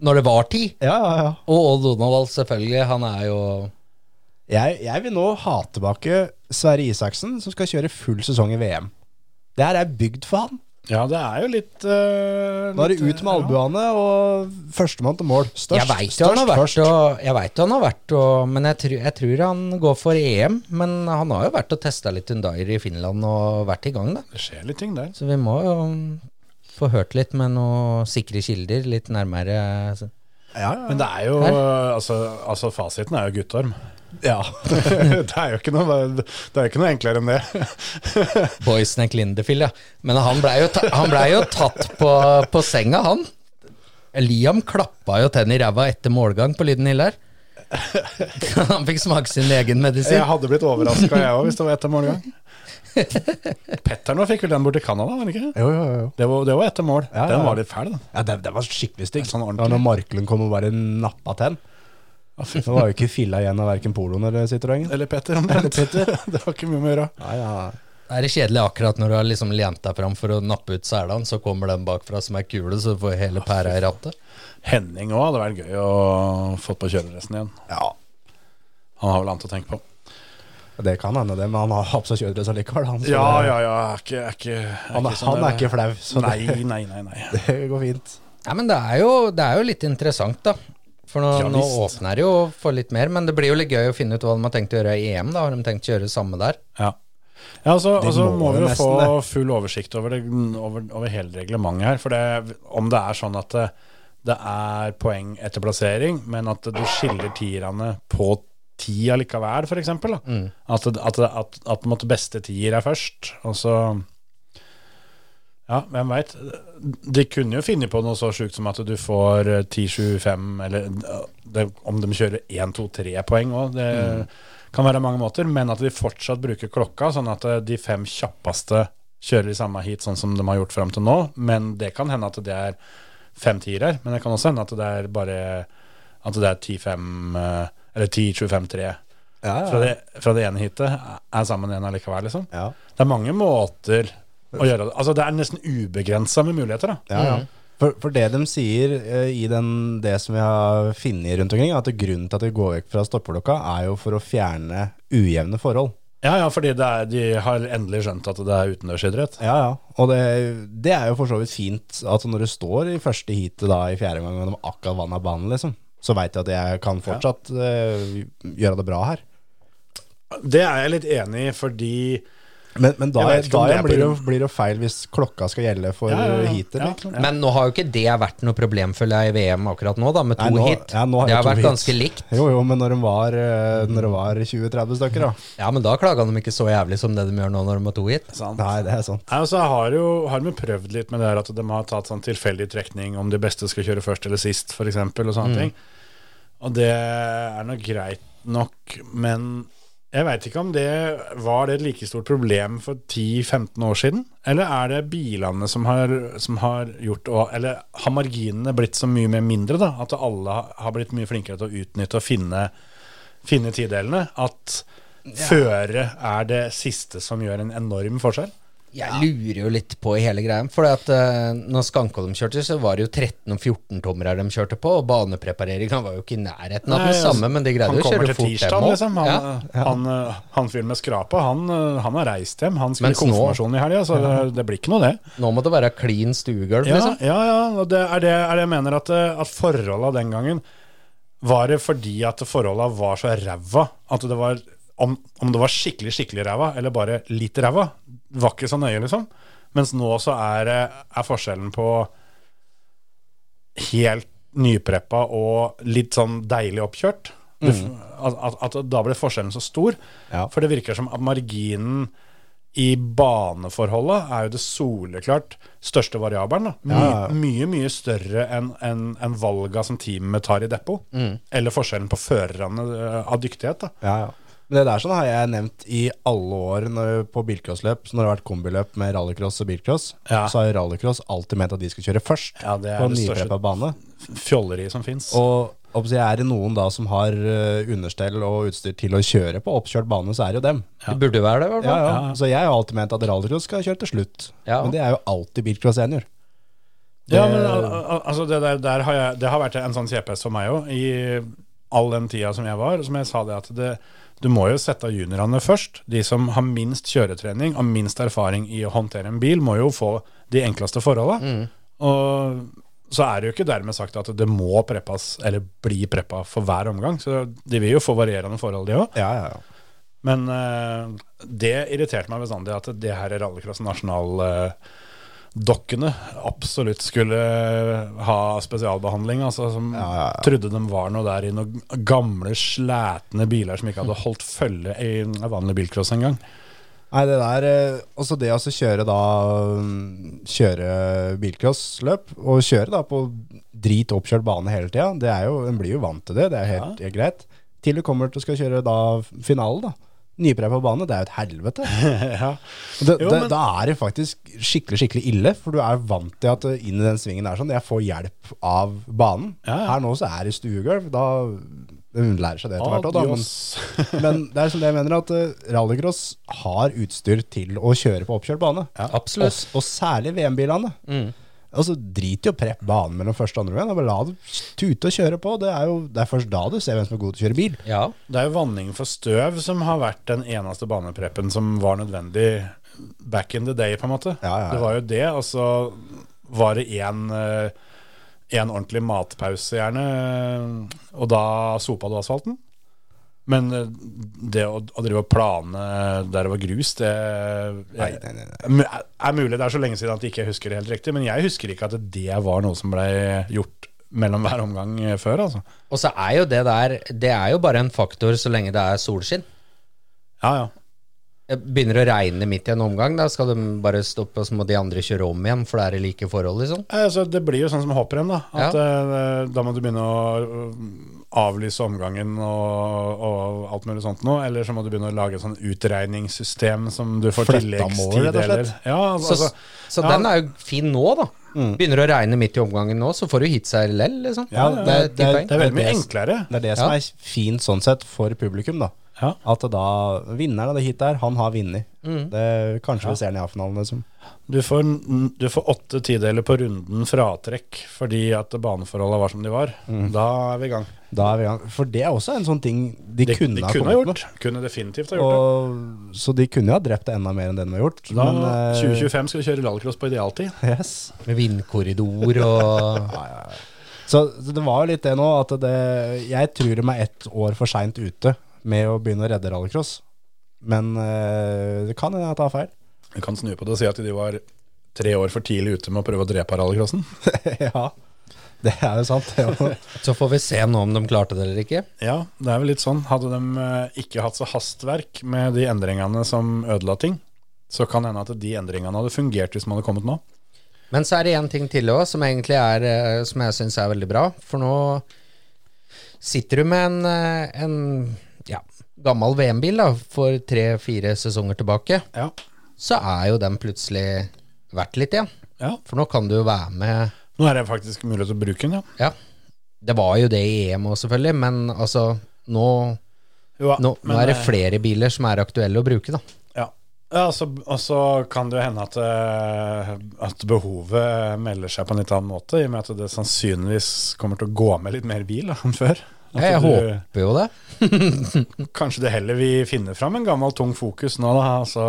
Speaker 5: når det var tid.
Speaker 4: Ja, ja, ja.
Speaker 5: Og Odd Donald, selvfølgelig. Han er jo
Speaker 4: Jeg, jeg vil nå ha tilbake Sverre Isaksen, som skal kjøre full sesong i VM. Det her er bygd for han.
Speaker 3: Ja, det er jo litt eh,
Speaker 4: Nå er det
Speaker 3: litt,
Speaker 4: ut med albuene og førstemann til mål. Størst,
Speaker 5: Jeg veit jo han
Speaker 4: størst
Speaker 5: har vært
Speaker 4: først.
Speaker 5: og Jeg vet jo han har vært og Men jeg, tru- jeg tror han går for EM. Men han har jo vært og testa litt Undair i Finland og vært i gang, da.
Speaker 3: Det skjer litt ting der.
Speaker 5: Så vi må jo få hørt litt med noen sikre kilder litt nærmere. altså.
Speaker 4: Ja, ja.
Speaker 3: Men det er jo eh, altså, altså, fasiten er jo guttorm.
Speaker 4: ja.
Speaker 3: det er jo ikke noe, det er jo ikke noe enklere enn det.
Speaker 5: Boysneck Lindefield, ja. Men han blei jo, ta, han ble jo tatt på, på senga, han. Liam klappa jo tenn i ræva etter målgang på Lyden Hill her. Han fikk smake sin egen medisin.
Speaker 3: Jeg hadde blitt overraska, jeg òg, hvis det var etter målgang. Petter nå fikk vel den bort til Canada, var det ikke?
Speaker 4: Jo, jo, jo.
Speaker 3: Det var, det var etter mål.
Speaker 4: Ja, ja.
Speaker 3: Den var litt fæl, den.
Speaker 4: Ja, det, det var skikkelig stygg.
Speaker 3: Sånn ordentlig.
Speaker 4: Ja, når Marklund kom og bare nappa tenn. Det var jo ikke filla igjen av verken poloen eller Citroën.
Speaker 3: Eller Petter, omtrent. det var ikke mye med å gjøre.
Speaker 4: Ja, ja.
Speaker 5: Er det kjedelig akkurat når du har liksom lent deg fram for å nappe ut selene, så kommer den bakfra som er kule, så du får hele
Speaker 4: Ah,
Speaker 5: pæra i rattet?
Speaker 3: Henning òg hadde vært gøy å fått på kjøreresten igjen.
Speaker 4: ja.
Speaker 3: Han har vel annet å tenke på.
Speaker 4: Det kan hende, det, men han har på seg kjøredress allikevel. Han, så
Speaker 3: Ja,
Speaker 4: det-
Speaker 3: ja, ja. Er ikke, er ikke, er
Speaker 4: han,
Speaker 3: ikke
Speaker 4: er,
Speaker 3: sånn
Speaker 4: han
Speaker 3: der.
Speaker 4: er ikke flau, så
Speaker 3: Nei,
Speaker 4: det,
Speaker 3: nei, nei. nei.
Speaker 4: det går fint.
Speaker 5: Nei, men det er, jo, det er jo litt interessant, da. For nå,
Speaker 3: Ja,
Speaker 5: nå
Speaker 3: visst.
Speaker 5: åpner det jo for litt mer, men det blir jo litt gøy å finne ut hva de har tenkt å gjøre i EM, da. Har de tenkt å gjøre det samme der?
Speaker 3: Ja. Ja, altså,
Speaker 4: De
Speaker 3: altså
Speaker 4: må
Speaker 3: må vi
Speaker 4: jo
Speaker 3: jo få
Speaker 4: nesten
Speaker 3: full oversikt over, det, over, over hele reglementet her. For det, om det er sånn at det, det er poeng etter plassering, men at du skiller tierne på ti allikevel, f.eks. Mm. At, det- at, det- at, at på en måte beste tier er først, og så ja, hvem veit. De kunne jo finne på noe så sjukt som at du får eh, 10-7-5, eller eh, det, om de kjører 1-2-3 poeng òg. Det kan være mange måter, men at de fortsatt bruker klokka, sånn at eh, de fem kjappeste kjører i samme heat, sånn som de har gjort fram til nå. Men det kan hende at det er fem tiere, men det kan også hende at det er bare At det er 10-5 eh, eller 10-25-3
Speaker 4: Ja,
Speaker 3: fra, det- fra det ene heatet er- er sammen igjen allikevel, liksom.
Speaker 4: Ah. Ja.
Speaker 3: Det er mange måter å gjøre det Altså det er nesten ubegrensa med muligheter, da.
Speaker 4: Ja, ja. For, for det de sier eh, i den, det som vi har funnet rundt omkring, er at grunnen til at vi går vekk fra stoppeklokka, er jo for å fjerne ujevne forhold.
Speaker 3: Ja ja, fordi det er, de har endelig skjønt at det er utendørsidrett.
Speaker 4: Ja, ja. Og det, det er jo for så vidt fint at når du står i første heatet da, i fjerde gang, og de akkurat vannet banen, liksom, så veit jeg at jeg kan fortsatt eh, gjøre det bra her.
Speaker 3: Det er jeg litt enig i, fordi
Speaker 4: Men, men da,
Speaker 3: Jeg vet ikke
Speaker 4: da
Speaker 3: om det er
Speaker 4: igjen blir,
Speaker 3: på
Speaker 4: det- blir det jo feil hvis klokka skal gjelde for
Speaker 3: Ja, ja, ja.
Speaker 4: heatet.
Speaker 3: Ja.
Speaker 4: liksom.
Speaker 5: Men nå har jo ikke det vært noe problem, føler jeg, i VM akkurat nå, da, med to
Speaker 4: Nei, nå-
Speaker 5: hit.
Speaker 4: ja, nå har
Speaker 5: det
Speaker 4: jeg
Speaker 5: har
Speaker 4: to
Speaker 5: vært
Speaker 4: hit.
Speaker 5: ganske likt.
Speaker 4: Jo, jo, men når de var, eh, når de var 20-30 stykker, da.
Speaker 5: Ja, men da klaga de ikke så jævlig som det de gjør nå når de har to hit.
Speaker 3: sant?
Speaker 4: Nei, det er sånn. sant.
Speaker 3: Nei, altså, har, jo, har de prøvd litt med det her at de har tatt sånn tilfeldig trekning om de beste skal kjøre først eller sist, for eksempel, og sånne ting. Og det er nok greit nok, men jeg veit ikke om det var det et like stort problem for 10-15 år siden. Eller er det bilene som har, som har gjort og- Eller har marginene blitt så mye mer mindre, da? At alle har blitt mye flinkere til å utnytte og finne, finne tidelene? At føre er det siste som gjør en enorm forskjell?
Speaker 5: Jeg lurer jo litt på i hele greia. For at eh, når Skankholm kjørte, så var det jo 13 og 14 tommer de kjørte på, og baneprepareringa var jo ikke i nærheten av
Speaker 3: Nei,
Speaker 5: den
Speaker 3: altså,
Speaker 5: samme, men de greide
Speaker 3: Han
Speaker 5: jo å
Speaker 3: kommer
Speaker 5: kjøre
Speaker 3: til
Speaker 5: fort
Speaker 3: tirsdag,
Speaker 5: dem også.
Speaker 3: liksom. Han,
Speaker 5: Ja.
Speaker 3: han, eh, han fyren med skrapa, han, eh, han har reist hjem. Han skulle
Speaker 5: Mens
Speaker 3: i konfirmasjon i helga, så det, det blir ikke noe, det.
Speaker 5: Nå må det være clean stuegulv,
Speaker 3: Ja,
Speaker 5: liksom.
Speaker 3: ja, ja og det er det, er det jeg mener, at, eh, at forholda den gangen Var det fordi at forholda var så ræva at det var om, om det var skikkelig, skikkelig ræva, eller bare litt ræva, var ikke så nøye, liksom. Mens nå så er, eh, er forskjellen på helt nypreppa og litt sånn deilig oppkjørt. Du, f- at, at, at da ble forskjellen så stor.
Speaker 4: Ja.
Speaker 3: For det virker som at marginen i baneforholdet er jo det soleklart største variabelen. Da. My,
Speaker 4: Ja, ja.
Speaker 3: Mye, mye større enn enn- enn valga som teamet tar i depot.
Speaker 4: Mm.
Speaker 3: Eller forskjellen på førerne eh, av dyktighet. Da.
Speaker 4: Ja, ja. Men det der sånn har jeg nevnt i alle år når, på bilcrossløp. Så når det har vært kombiløp med rallycross og bilcross,
Speaker 3: Ja.
Speaker 4: så har rallycross alltid ment at de skal kjøre først
Speaker 3: Ja, det er
Speaker 4: på en
Speaker 3: det største-
Speaker 4: nyprepa bane.
Speaker 3: Fjolleri som fins.
Speaker 4: Og om det er det noen da som har eh, understell og utstyr til å kjøre på oppkjørt bane, så er det jo dem.
Speaker 5: Det burde jo være det, i hvert
Speaker 4: Ja,
Speaker 5: fall.
Speaker 4: ja. Så jeg har jo alltid ment at rallycross skal kjøre til slutt.
Speaker 5: Ja.
Speaker 4: Men det er jo alltid bilcross senior.
Speaker 3: Ja, men al- al- altså det, der, der har jeg, det har vært en sånn kjepphest for meg òg, i all den tida som jeg var. Som jeg sa det at det, du må jo sette juniorene først. De som har minst kjøretrening og minst erfaring i å håndtere en bil, må jo få de enkleste forholda. Og så er det jo ikke dermed sagt at det må preppes eller bli preppa for hver omgang. Så de vil jo få varierende forhold, de òg.
Speaker 4: Ja, ja, ja.
Speaker 3: Men eh, det irriterte meg bestandig at det her rallycross nasjonaldokkene dokkene absolutt skulle eh, ha spesialbehandling. Altså, som
Speaker 4: ja, ja.
Speaker 3: trodde de var noe der i noen gamle, slætne biler som ikke hadde holdt følge i en vanlig bilcross engang.
Speaker 4: Nei, det der eh, Også det å altså kjøre da mm, Kjøre bilcrossløp, og kjøre da på drit oppkjørt bane hele tida, det er jo En blir jo vant til det, det er helt helt greit. Til du kommer til å skal kjøre da finalen, da. Nypreppa bane, det er jo et helvete.
Speaker 3: ja.
Speaker 4: Og Det,
Speaker 3: Jo,
Speaker 4: det,
Speaker 3: men-
Speaker 4: da er det faktisk skikkelig skikkelig ille, for du er vant til at eh, inn i den svingen er sånn. Jeg får hjelp av banen.
Speaker 3: Ja, ja.
Speaker 4: Her nå så er det stuegulv. Da hun lærer seg det etter hvert òg, da. Men,
Speaker 3: Adios.
Speaker 4: men det er som det jeg mener, at eh, rallycross har utstyr til å kjøre på oppkjørt bane.
Speaker 5: absolutt.
Speaker 4: Og, og særlig VM-bilene.
Speaker 3: Mm.
Speaker 4: Altså, Drit i å preppe banen mellom første og andre gang. da Bare la det tute og kjøre på. Det er jo det er først da du ser hvem som er god til å kjøre bil.
Speaker 5: Ja.
Speaker 3: Det er jo vanning for støv som har vært den eneste banepreppen som var nødvendig back in the day, på en måte.
Speaker 4: Ja, ja, ja.
Speaker 3: Det var jo det, og så var det én en ordentlig matpause, gjerne, eh, og da sopa du asfalten. Men eh, det å, å drive og plane der det var grus, det eh,
Speaker 4: Nei, nei, nei,
Speaker 3: er mulig det er så lenge siden at jeg ikke husker det helt riktig, men jeg husker ikke at det var noe som ble gjort mellom hver omgang før, altså.
Speaker 5: Og så er jo det der Det er jo bare en faktor så lenge det er solskinn.
Speaker 3: Ja, ja.
Speaker 5: Det Begynner å regne midt i en omgang, da skal de bare stoppe, og så må de andre kjøre om igjen, for det er i like forhold, liksom.
Speaker 3: Nei, Altså, det blir jo sånn som hopprenn, da. At eh, da må du begynne å eh, avlyse omgangen og, og alt mulig sånt noe. Eller så må du begynne å lage et sånn utregningssystem som du får
Speaker 4: Fletta mål,
Speaker 3: tilleggstid
Speaker 4: rett og slett.
Speaker 3: eller Ja, altså,
Speaker 5: Så,
Speaker 3: altså,
Speaker 5: så
Speaker 3: ja.
Speaker 5: den er jo fin nå, da. Begynner å regne midt i omgangen nå, så får du hit seg lell, liksom.
Speaker 4: Ja, det-
Speaker 5: det er ti
Speaker 4: det-
Speaker 5: poeng.
Speaker 3: det er veldig mye
Speaker 4: det-
Speaker 3: enklere.
Speaker 4: Det er det som er fint sånn sett for publikum, da.
Speaker 3: Ja. Mm.
Speaker 4: At da vinneren av det hitet her, han har vunnet. Det Kanskje vi ser den i A-finalen, liksom.
Speaker 3: Du får, n- du får åtte tideler på runden fratrekk fordi at baneforholda var som de var.
Speaker 4: Mhm.
Speaker 3: Da er vi i gang.
Speaker 4: Da er vi i gang. For det er også en sånn ting de,
Speaker 3: De
Speaker 4: kunne,
Speaker 3: de
Speaker 4: ha
Speaker 3: kunne ha
Speaker 4: kommet
Speaker 3: gjort. Kunne definitivt ha
Speaker 4: med.
Speaker 3: gjort det.
Speaker 4: Og, så de kunne jo ha drept det enda mer enn det de har gjort.
Speaker 3: Da,
Speaker 4: men, eh,
Speaker 3: 2025 skal du kjøre rallycross på idealtid.
Speaker 4: Yes.
Speaker 5: Med vindkorridor og
Speaker 4: Så, så det var jo litt det nå at det Jeg tror de er ett år for seint ute med å begynne å redde rallycross. Men eh, det kan hende jeg tar feil.
Speaker 3: Vi kan snu på det og si at de var tre år for tidlig ute med å prøve å drepe rallycrossen.
Speaker 4: ja. Det er jo sant. Det er jo-
Speaker 5: Så får vi se nå om de klarte det eller ikke.
Speaker 3: Ja, det er vel litt sånn. Hadde de eh, ikke hatt så hastverk med de endringene som ødela ting, så kan det hende at de endringene hadde fungert hvis man hadde kommet nå.
Speaker 5: Men så er det én ting til òg, som egentlig er eh, Som jeg syns er veldig bra. For nå sitter du med en, eh, en ja, gammel VM-bil da for tre-fire sesonger tilbake.
Speaker 3: Ja.
Speaker 5: Så er jo den plutselig verdt litt igjen.
Speaker 3: ja.
Speaker 5: For nå kan du jo være med
Speaker 3: Nå er det faktisk mulighet til å bruke den, ja.
Speaker 5: Ja, det var jo det i EM òg, selvfølgelig, men altså nå,
Speaker 3: Jo, ja,
Speaker 5: nå, nå
Speaker 3: men,
Speaker 5: er det
Speaker 3: eh,
Speaker 5: flere biler som er aktuelle å bruke, da.
Speaker 3: Ja, ja så, og så kan det jo hende at, eh, at behovet eh, melder seg på en litt annen måte, i og med at det sannsynligvis kommer til å gå med litt mer bil da, enn før. At
Speaker 5: Jeg
Speaker 3: du-
Speaker 5: håper jo det.
Speaker 3: Kanskje det heller vi finner fram en gammel, tung fokus nå, da. Altså,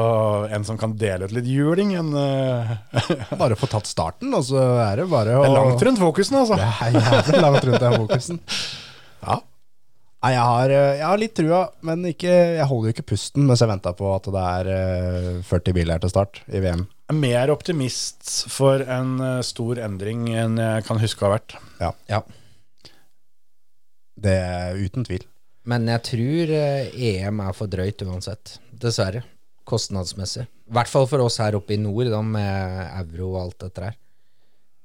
Speaker 3: en som kan dele ut litt juling. En, eh,
Speaker 4: Bare få tatt starten, og så er det bare å
Speaker 3: Det er langt rundt fokusen, altså.
Speaker 4: Det er jævlig langt rundt den fokusen. Ja. Nei, jeg har, eh, jeg har litt trua, men ikke, jeg holder jo ikke pusten mens jeg venter på at det er eh, 40 biler til start i VM.
Speaker 3: Jeg er mer optimist for en eh, stor endring enn jeg kan huske å ha vært.
Speaker 5: Ja.
Speaker 4: Det er uten tvil.
Speaker 5: Men jeg tror eh, EM er for drøyt uansett. Dessverre. kostnadsmessig. I hvert fall for oss her oppe i nord, da, med euro og alt dette her.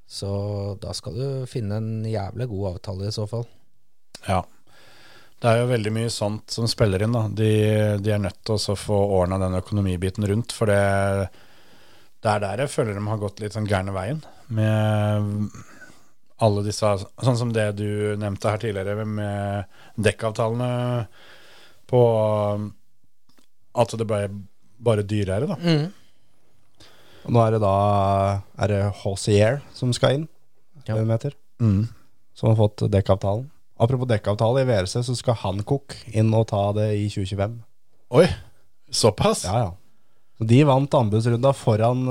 Speaker 5: Så da skal du finne en jævlig god avtale i så fall.
Speaker 3: Ja. Det er jo veldig mye sånt som spiller inn. da. De, de er nødt til å så få ordna den økonomibiten rundt. For det, det er der jeg føler de har gått litt sånn gærne veien. Med alle disse Sånn som det du nevnte her tidligere, med dekkavtalene på At det ble bare dyrere, da.
Speaker 4: Og nå er det da Er det Haussier som skal inn,
Speaker 5: Ja.
Speaker 4: hvem heter,
Speaker 3: Mm.
Speaker 4: som har fått dekkavtalen. Apropos dekkavtale, i VRC så skal Hancock inn og ta det i 2025.
Speaker 3: Oi! Såpass?
Speaker 4: Ja, ja. Så de vant anbudsrunda foran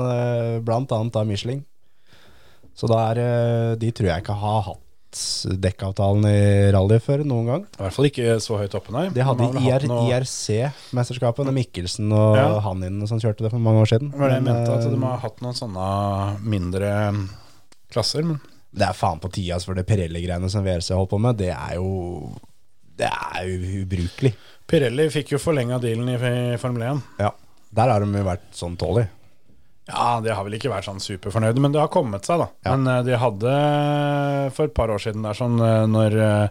Speaker 4: eh, blant annet da Michelin. Så da er eh, de tror jeg ikke har hatt dekkavtalen i rally før noen gang.
Speaker 3: I hvert fall ikke så høyt oppe, nei.
Speaker 4: De hadde
Speaker 3: Man har vel hatt
Speaker 4: IR,
Speaker 3: noe-
Speaker 4: IRC-mesterskapet, når Mikkelsen og
Speaker 3: Ja.
Speaker 4: Hanninen som kjørte det for mange år siden.
Speaker 3: Det var det jeg
Speaker 4: Men,
Speaker 3: mente, at
Speaker 4: eh,
Speaker 3: de har hatt noen sånne mindre klasser. Men
Speaker 4: eh, Det er faen på tida altså, for det Pirelli-greiene som VRC holdt på med. Det er jo Det er jo ubrukelig.
Speaker 3: Pirelli fikk jo forlenga dealen i i Formel 1.
Speaker 4: Ja. Der har de jo vært sånn tålig.
Speaker 3: Ja, de har vel ikke vært sånn superfornøyde, men det har kommet seg, da.
Speaker 4: Ja.
Speaker 3: Men eh, de hadde eh, for et par år siden der sånn eh, når eh,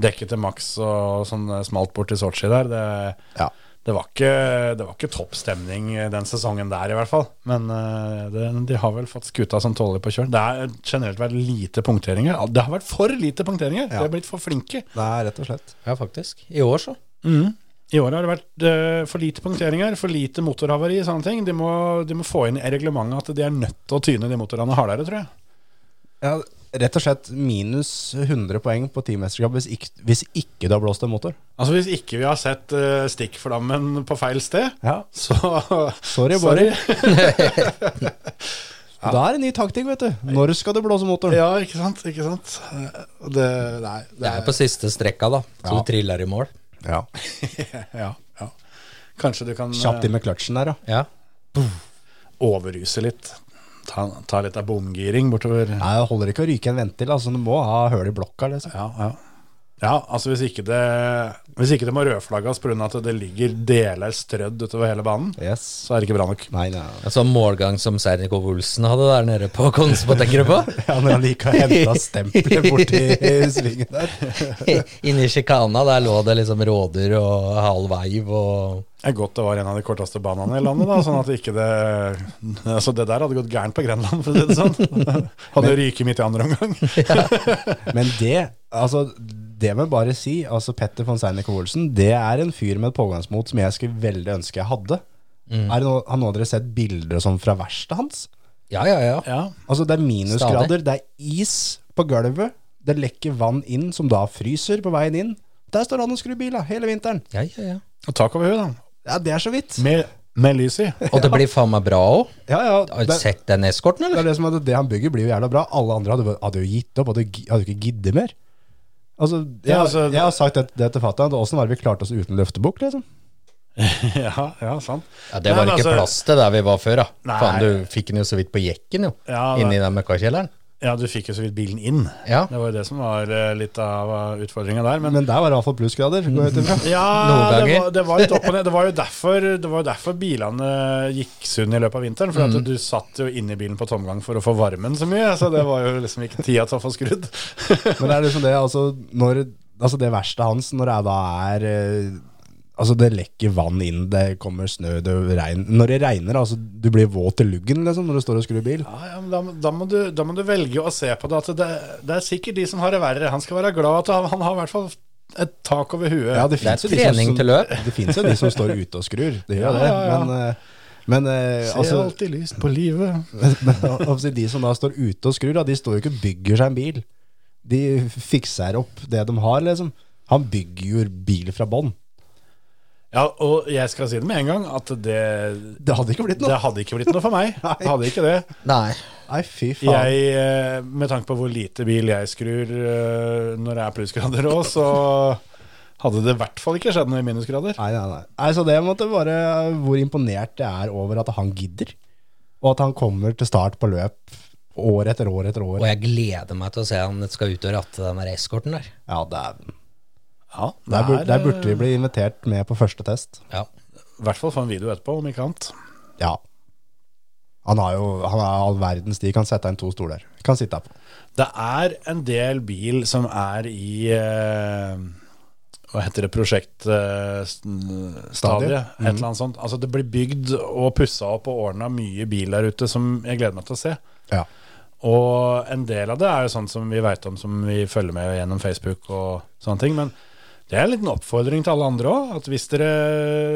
Speaker 3: dekket til Max og sånn eh, smalt bort til Sotsji der, det,
Speaker 4: Ja.
Speaker 3: det var ikke, det var ikke topp stemning eh, den sesongen der, i hvert fall. Men eh, det, de har vel fått skuta som tåler på kjøl. Det har generelt vært lite punkteringer. Ja, Det har vært for lite punkteringer! De har blitt for flinke.
Speaker 4: Det er rett og slett.
Speaker 5: Ja, faktisk. I år, så.
Speaker 3: Mm. I år har det vært eh, for lite punkteringer, for lite motorhavari. sånne ting. De må, de må få inn i reglementet at de er nødt til å tyne de motorene hardere, tror jeg.
Speaker 4: Ja, rett og slett minus 100 poeng på teammesterskap hvis, ikk- hvis ikke du har blåst en motor.
Speaker 3: Altså Hvis ikke vi har sett eh, stikkflammen på feil sted,
Speaker 4: Ja.
Speaker 3: så
Speaker 4: Sorry, Borry. Da er det ny taktikk, vet du. Når skal du blåse motoren?
Speaker 3: Ja, ikke sant? ikke sant? Eh, Det, nei,
Speaker 5: Det er jo på siste strekka, da, så du triller i mål.
Speaker 4: Ja.
Speaker 3: ja, ja. Kanskje du kan eh,
Speaker 4: Kjapt inn med kløtsjen der, ja.
Speaker 5: Ja.
Speaker 3: overruse litt. Ta, ta litt av bomgiring bortover. Ja,
Speaker 4: Nei, det holder ikke å ryke en ventil. Altså, du må ha høl i blokka. Liksom.
Speaker 3: ja. ja altså Hvis ikke det Hvis ikke det må rødflagges pga. at det ligger deler strødd utover hele banen,
Speaker 4: Yes.
Speaker 3: så er det ikke bra nok.
Speaker 4: Nei, nei.
Speaker 5: En sånn målgang som Sernikov Olsen hadde der nede på Konsbo, tenker du på?
Speaker 4: Ja, når han gikk og henta stempelet borti svingen der.
Speaker 5: Inni sjikana, der lå det liksom rådyr og halv eiv og
Speaker 3: Det er godt det var en av de korteste banene i landet, da, sånn at ikke det Altså, det der hadde gått gærent på Grenland, for å si det sånn. Hadde ryket midt i andre omgang.
Speaker 4: Men det, altså, det må jeg bare si. Altså, Petter von Seinik Olsen, det er en fyr med et pågangsmot som jeg skulle veldig ønske jeg hadde.
Speaker 5: Mm.
Speaker 4: Er det noe, har noen av dere sett bilder og sånn fra verkstedet hans?
Speaker 5: Ja, ja, ja.
Speaker 3: Ja.
Speaker 4: Altså, det er minusgrader, det er is på gulvet, det lekker vann inn som da fryser på veien inn. Der står han og skrur bil da, hele vinteren.
Speaker 5: ja, ja, ja.
Speaker 3: Og tak over huet, da.
Speaker 4: Ja, det er så vidt.
Speaker 3: Med, med lys i.
Speaker 5: Og det blir faen meg bra òg.
Speaker 4: Ja, ja.
Speaker 5: Har du
Speaker 4: Det,
Speaker 5: sett den eskorten,
Speaker 4: det
Speaker 5: eller?
Speaker 4: er det som er at det han bygger blir jo jævla bra. Alle andre hadde, hadde jo gitt opp, hadde, gi- hadde ikke giddet mer. Altså, jeg,
Speaker 3: Ja, altså,
Speaker 4: jeg har sagt det, det til fatter'n, åssen var det vi klarte oss uten løftebukk, liksom?
Speaker 3: Ja, ja, sant.
Speaker 5: Ja, Det var
Speaker 3: Men
Speaker 5: ikke
Speaker 3: altså-
Speaker 5: plass til der vi var før, da.
Speaker 3: Nei.
Speaker 5: Faen, du fikk den jo så vidt på jekken, jo.
Speaker 3: Ja,
Speaker 5: Inni den møkkakjelleren.
Speaker 3: Ja, du fikk jo så vidt bilen inn.
Speaker 5: Ja.
Speaker 3: Det var jo det som var eh, litt av utfordringa der. Men
Speaker 4: Men der var det iallfall plussgrader. Går jeg ut ifra.
Speaker 3: Ja,
Speaker 5: Noen
Speaker 3: det
Speaker 5: ganger.
Speaker 3: var, det var litt opp og ned. Det var jo derfor, det var jo derfor bilene gikk sunn i løpet av vinteren. For at du satt jo inni bilen på tomgang for å få varmen så mye. Så det var jo liksom ikke tida til å få skrudd.
Speaker 4: Men det er liksom det, altså, når, altså det verste hans når det da er eh, Altså, det lekker vann inn, det kommer snø, det regner Når det regner, altså, du blir våt i luggen, liksom, når du står og skrur bil.
Speaker 3: Ja, ja, men da, da, må du, da må du velge å se på det at det, det er sikkert de som har det verre. Han skal være glad at han- han har i hvert fall et tak over huet.
Speaker 4: Ja, det
Speaker 5: Det er
Speaker 4: finnes jo de som-
Speaker 5: trening til løp.
Speaker 4: Det fins jo de som står ute og skrur, det gjør
Speaker 3: Ja,
Speaker 4: det,
Speaker 3: ja, ja.
Speaker 4: men eh, men eh,
Speaker 3: Ser
Speaker 4: altså,
Speaker 3: alltid lyst på livet.
Speaker 4: men, altså, de som da står ute og skrur, da, de står jo ikke og bygger seg en bil. De fikser opp det de har, liksom. Han bygger jo bil fra bånn.
Speaker 3: Ja, og jeg skal si det med en gang, at det
Speaker 4: Det hadde ikke blitt noe.
Speaker 3: det hadde ikke blitt noe for meg.
Speaker 4: Nei.
Speaker 3: Det hadde ikke det.
Speaker 5: Nei.
Speaker 4: Nei, fy faen.
Speaker 3: Jeg, eh, med tanke på hvor lite bil jeg skrur eh, når det er plussgrader òg, så hadde det i hvert fall ikke skjedd noe i minusgrader.
Speaker 4: Nei, nei, nei. nei så det måtte være eh, hvor imponert jeg er over at han gidder. Og at han kommer til start på løp år etter år etter år.
Speaker 5: Og jeg gleder meg til å se han skal ut og ratte den der eskorten der.
Speaker 4: Ja, dæven.
Speaker 3: Ja,
Speaker 4: Der, bur-
Speaker 3: det
Speaker 4: der
Speaker 3: er,
Speaker 4: burde vi bli invitert med på første test.
Speaker 5: Ja.
Speaker 3: eh, I hvert fall få en video etterpå, om ikke annet.
Speaker 4: Ja. Han har jo han har all verdens tid. Kan sette inn to stoler. Kan sitte her på.
Speaker 3: Det er en del bil som er i eh, Hva heter det prosjektstadiet?
Speaker 4: Stadiet.
Speaker 3: Et eller annet sånt. Altså, det blir bygd og pussa opp og ordna mye bil der ute som jeg gleder meg til å se.
Speaker 4: Ja.
Speaker 3: Og en del av det er jo sånn som vi veit om, som vi følger med gjennom Facebook og sånne ting. Men det er en liten oppfordring til alle andre òg. At hvis dere,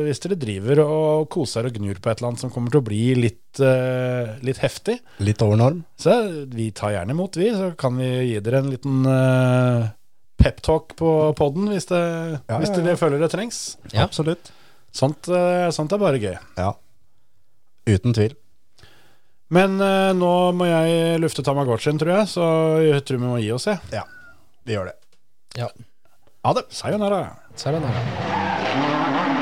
Speaker 3: hvis dere driver og koser og gnur på et eller annet som kommer til å bli litt, eh, litt heftig,
Speaker 4: Litt over norm.
Speaker 3: så vi tar gjerne imot, vi. Så kan vi gi dere en liten uh, peptalk på poden hvis, det,
Speaker 4: Ja,
Speaker 3: hvis
Speaker 4: ja, ja.
Speaker 3: dere føler det trengs.
Speaker 5: Ja.
Speaker 4: Absolutt.
Speaker 3: Sånt, eh, sånt er bare gøy.
Speaker 4: Ja. Uten tvil.
Speaker 3: Men eh, nå må jeg lufte Tamagotchien, tror jeg, så jeg tror vi må gi oss, jeg.
Speaker 4: Ja. Vi gjør det.
Speaker 5: Ja.
Speaker 3: Ha det. Sayonara.
Speaker 5: Så er det noe.
Speaker 1: Thank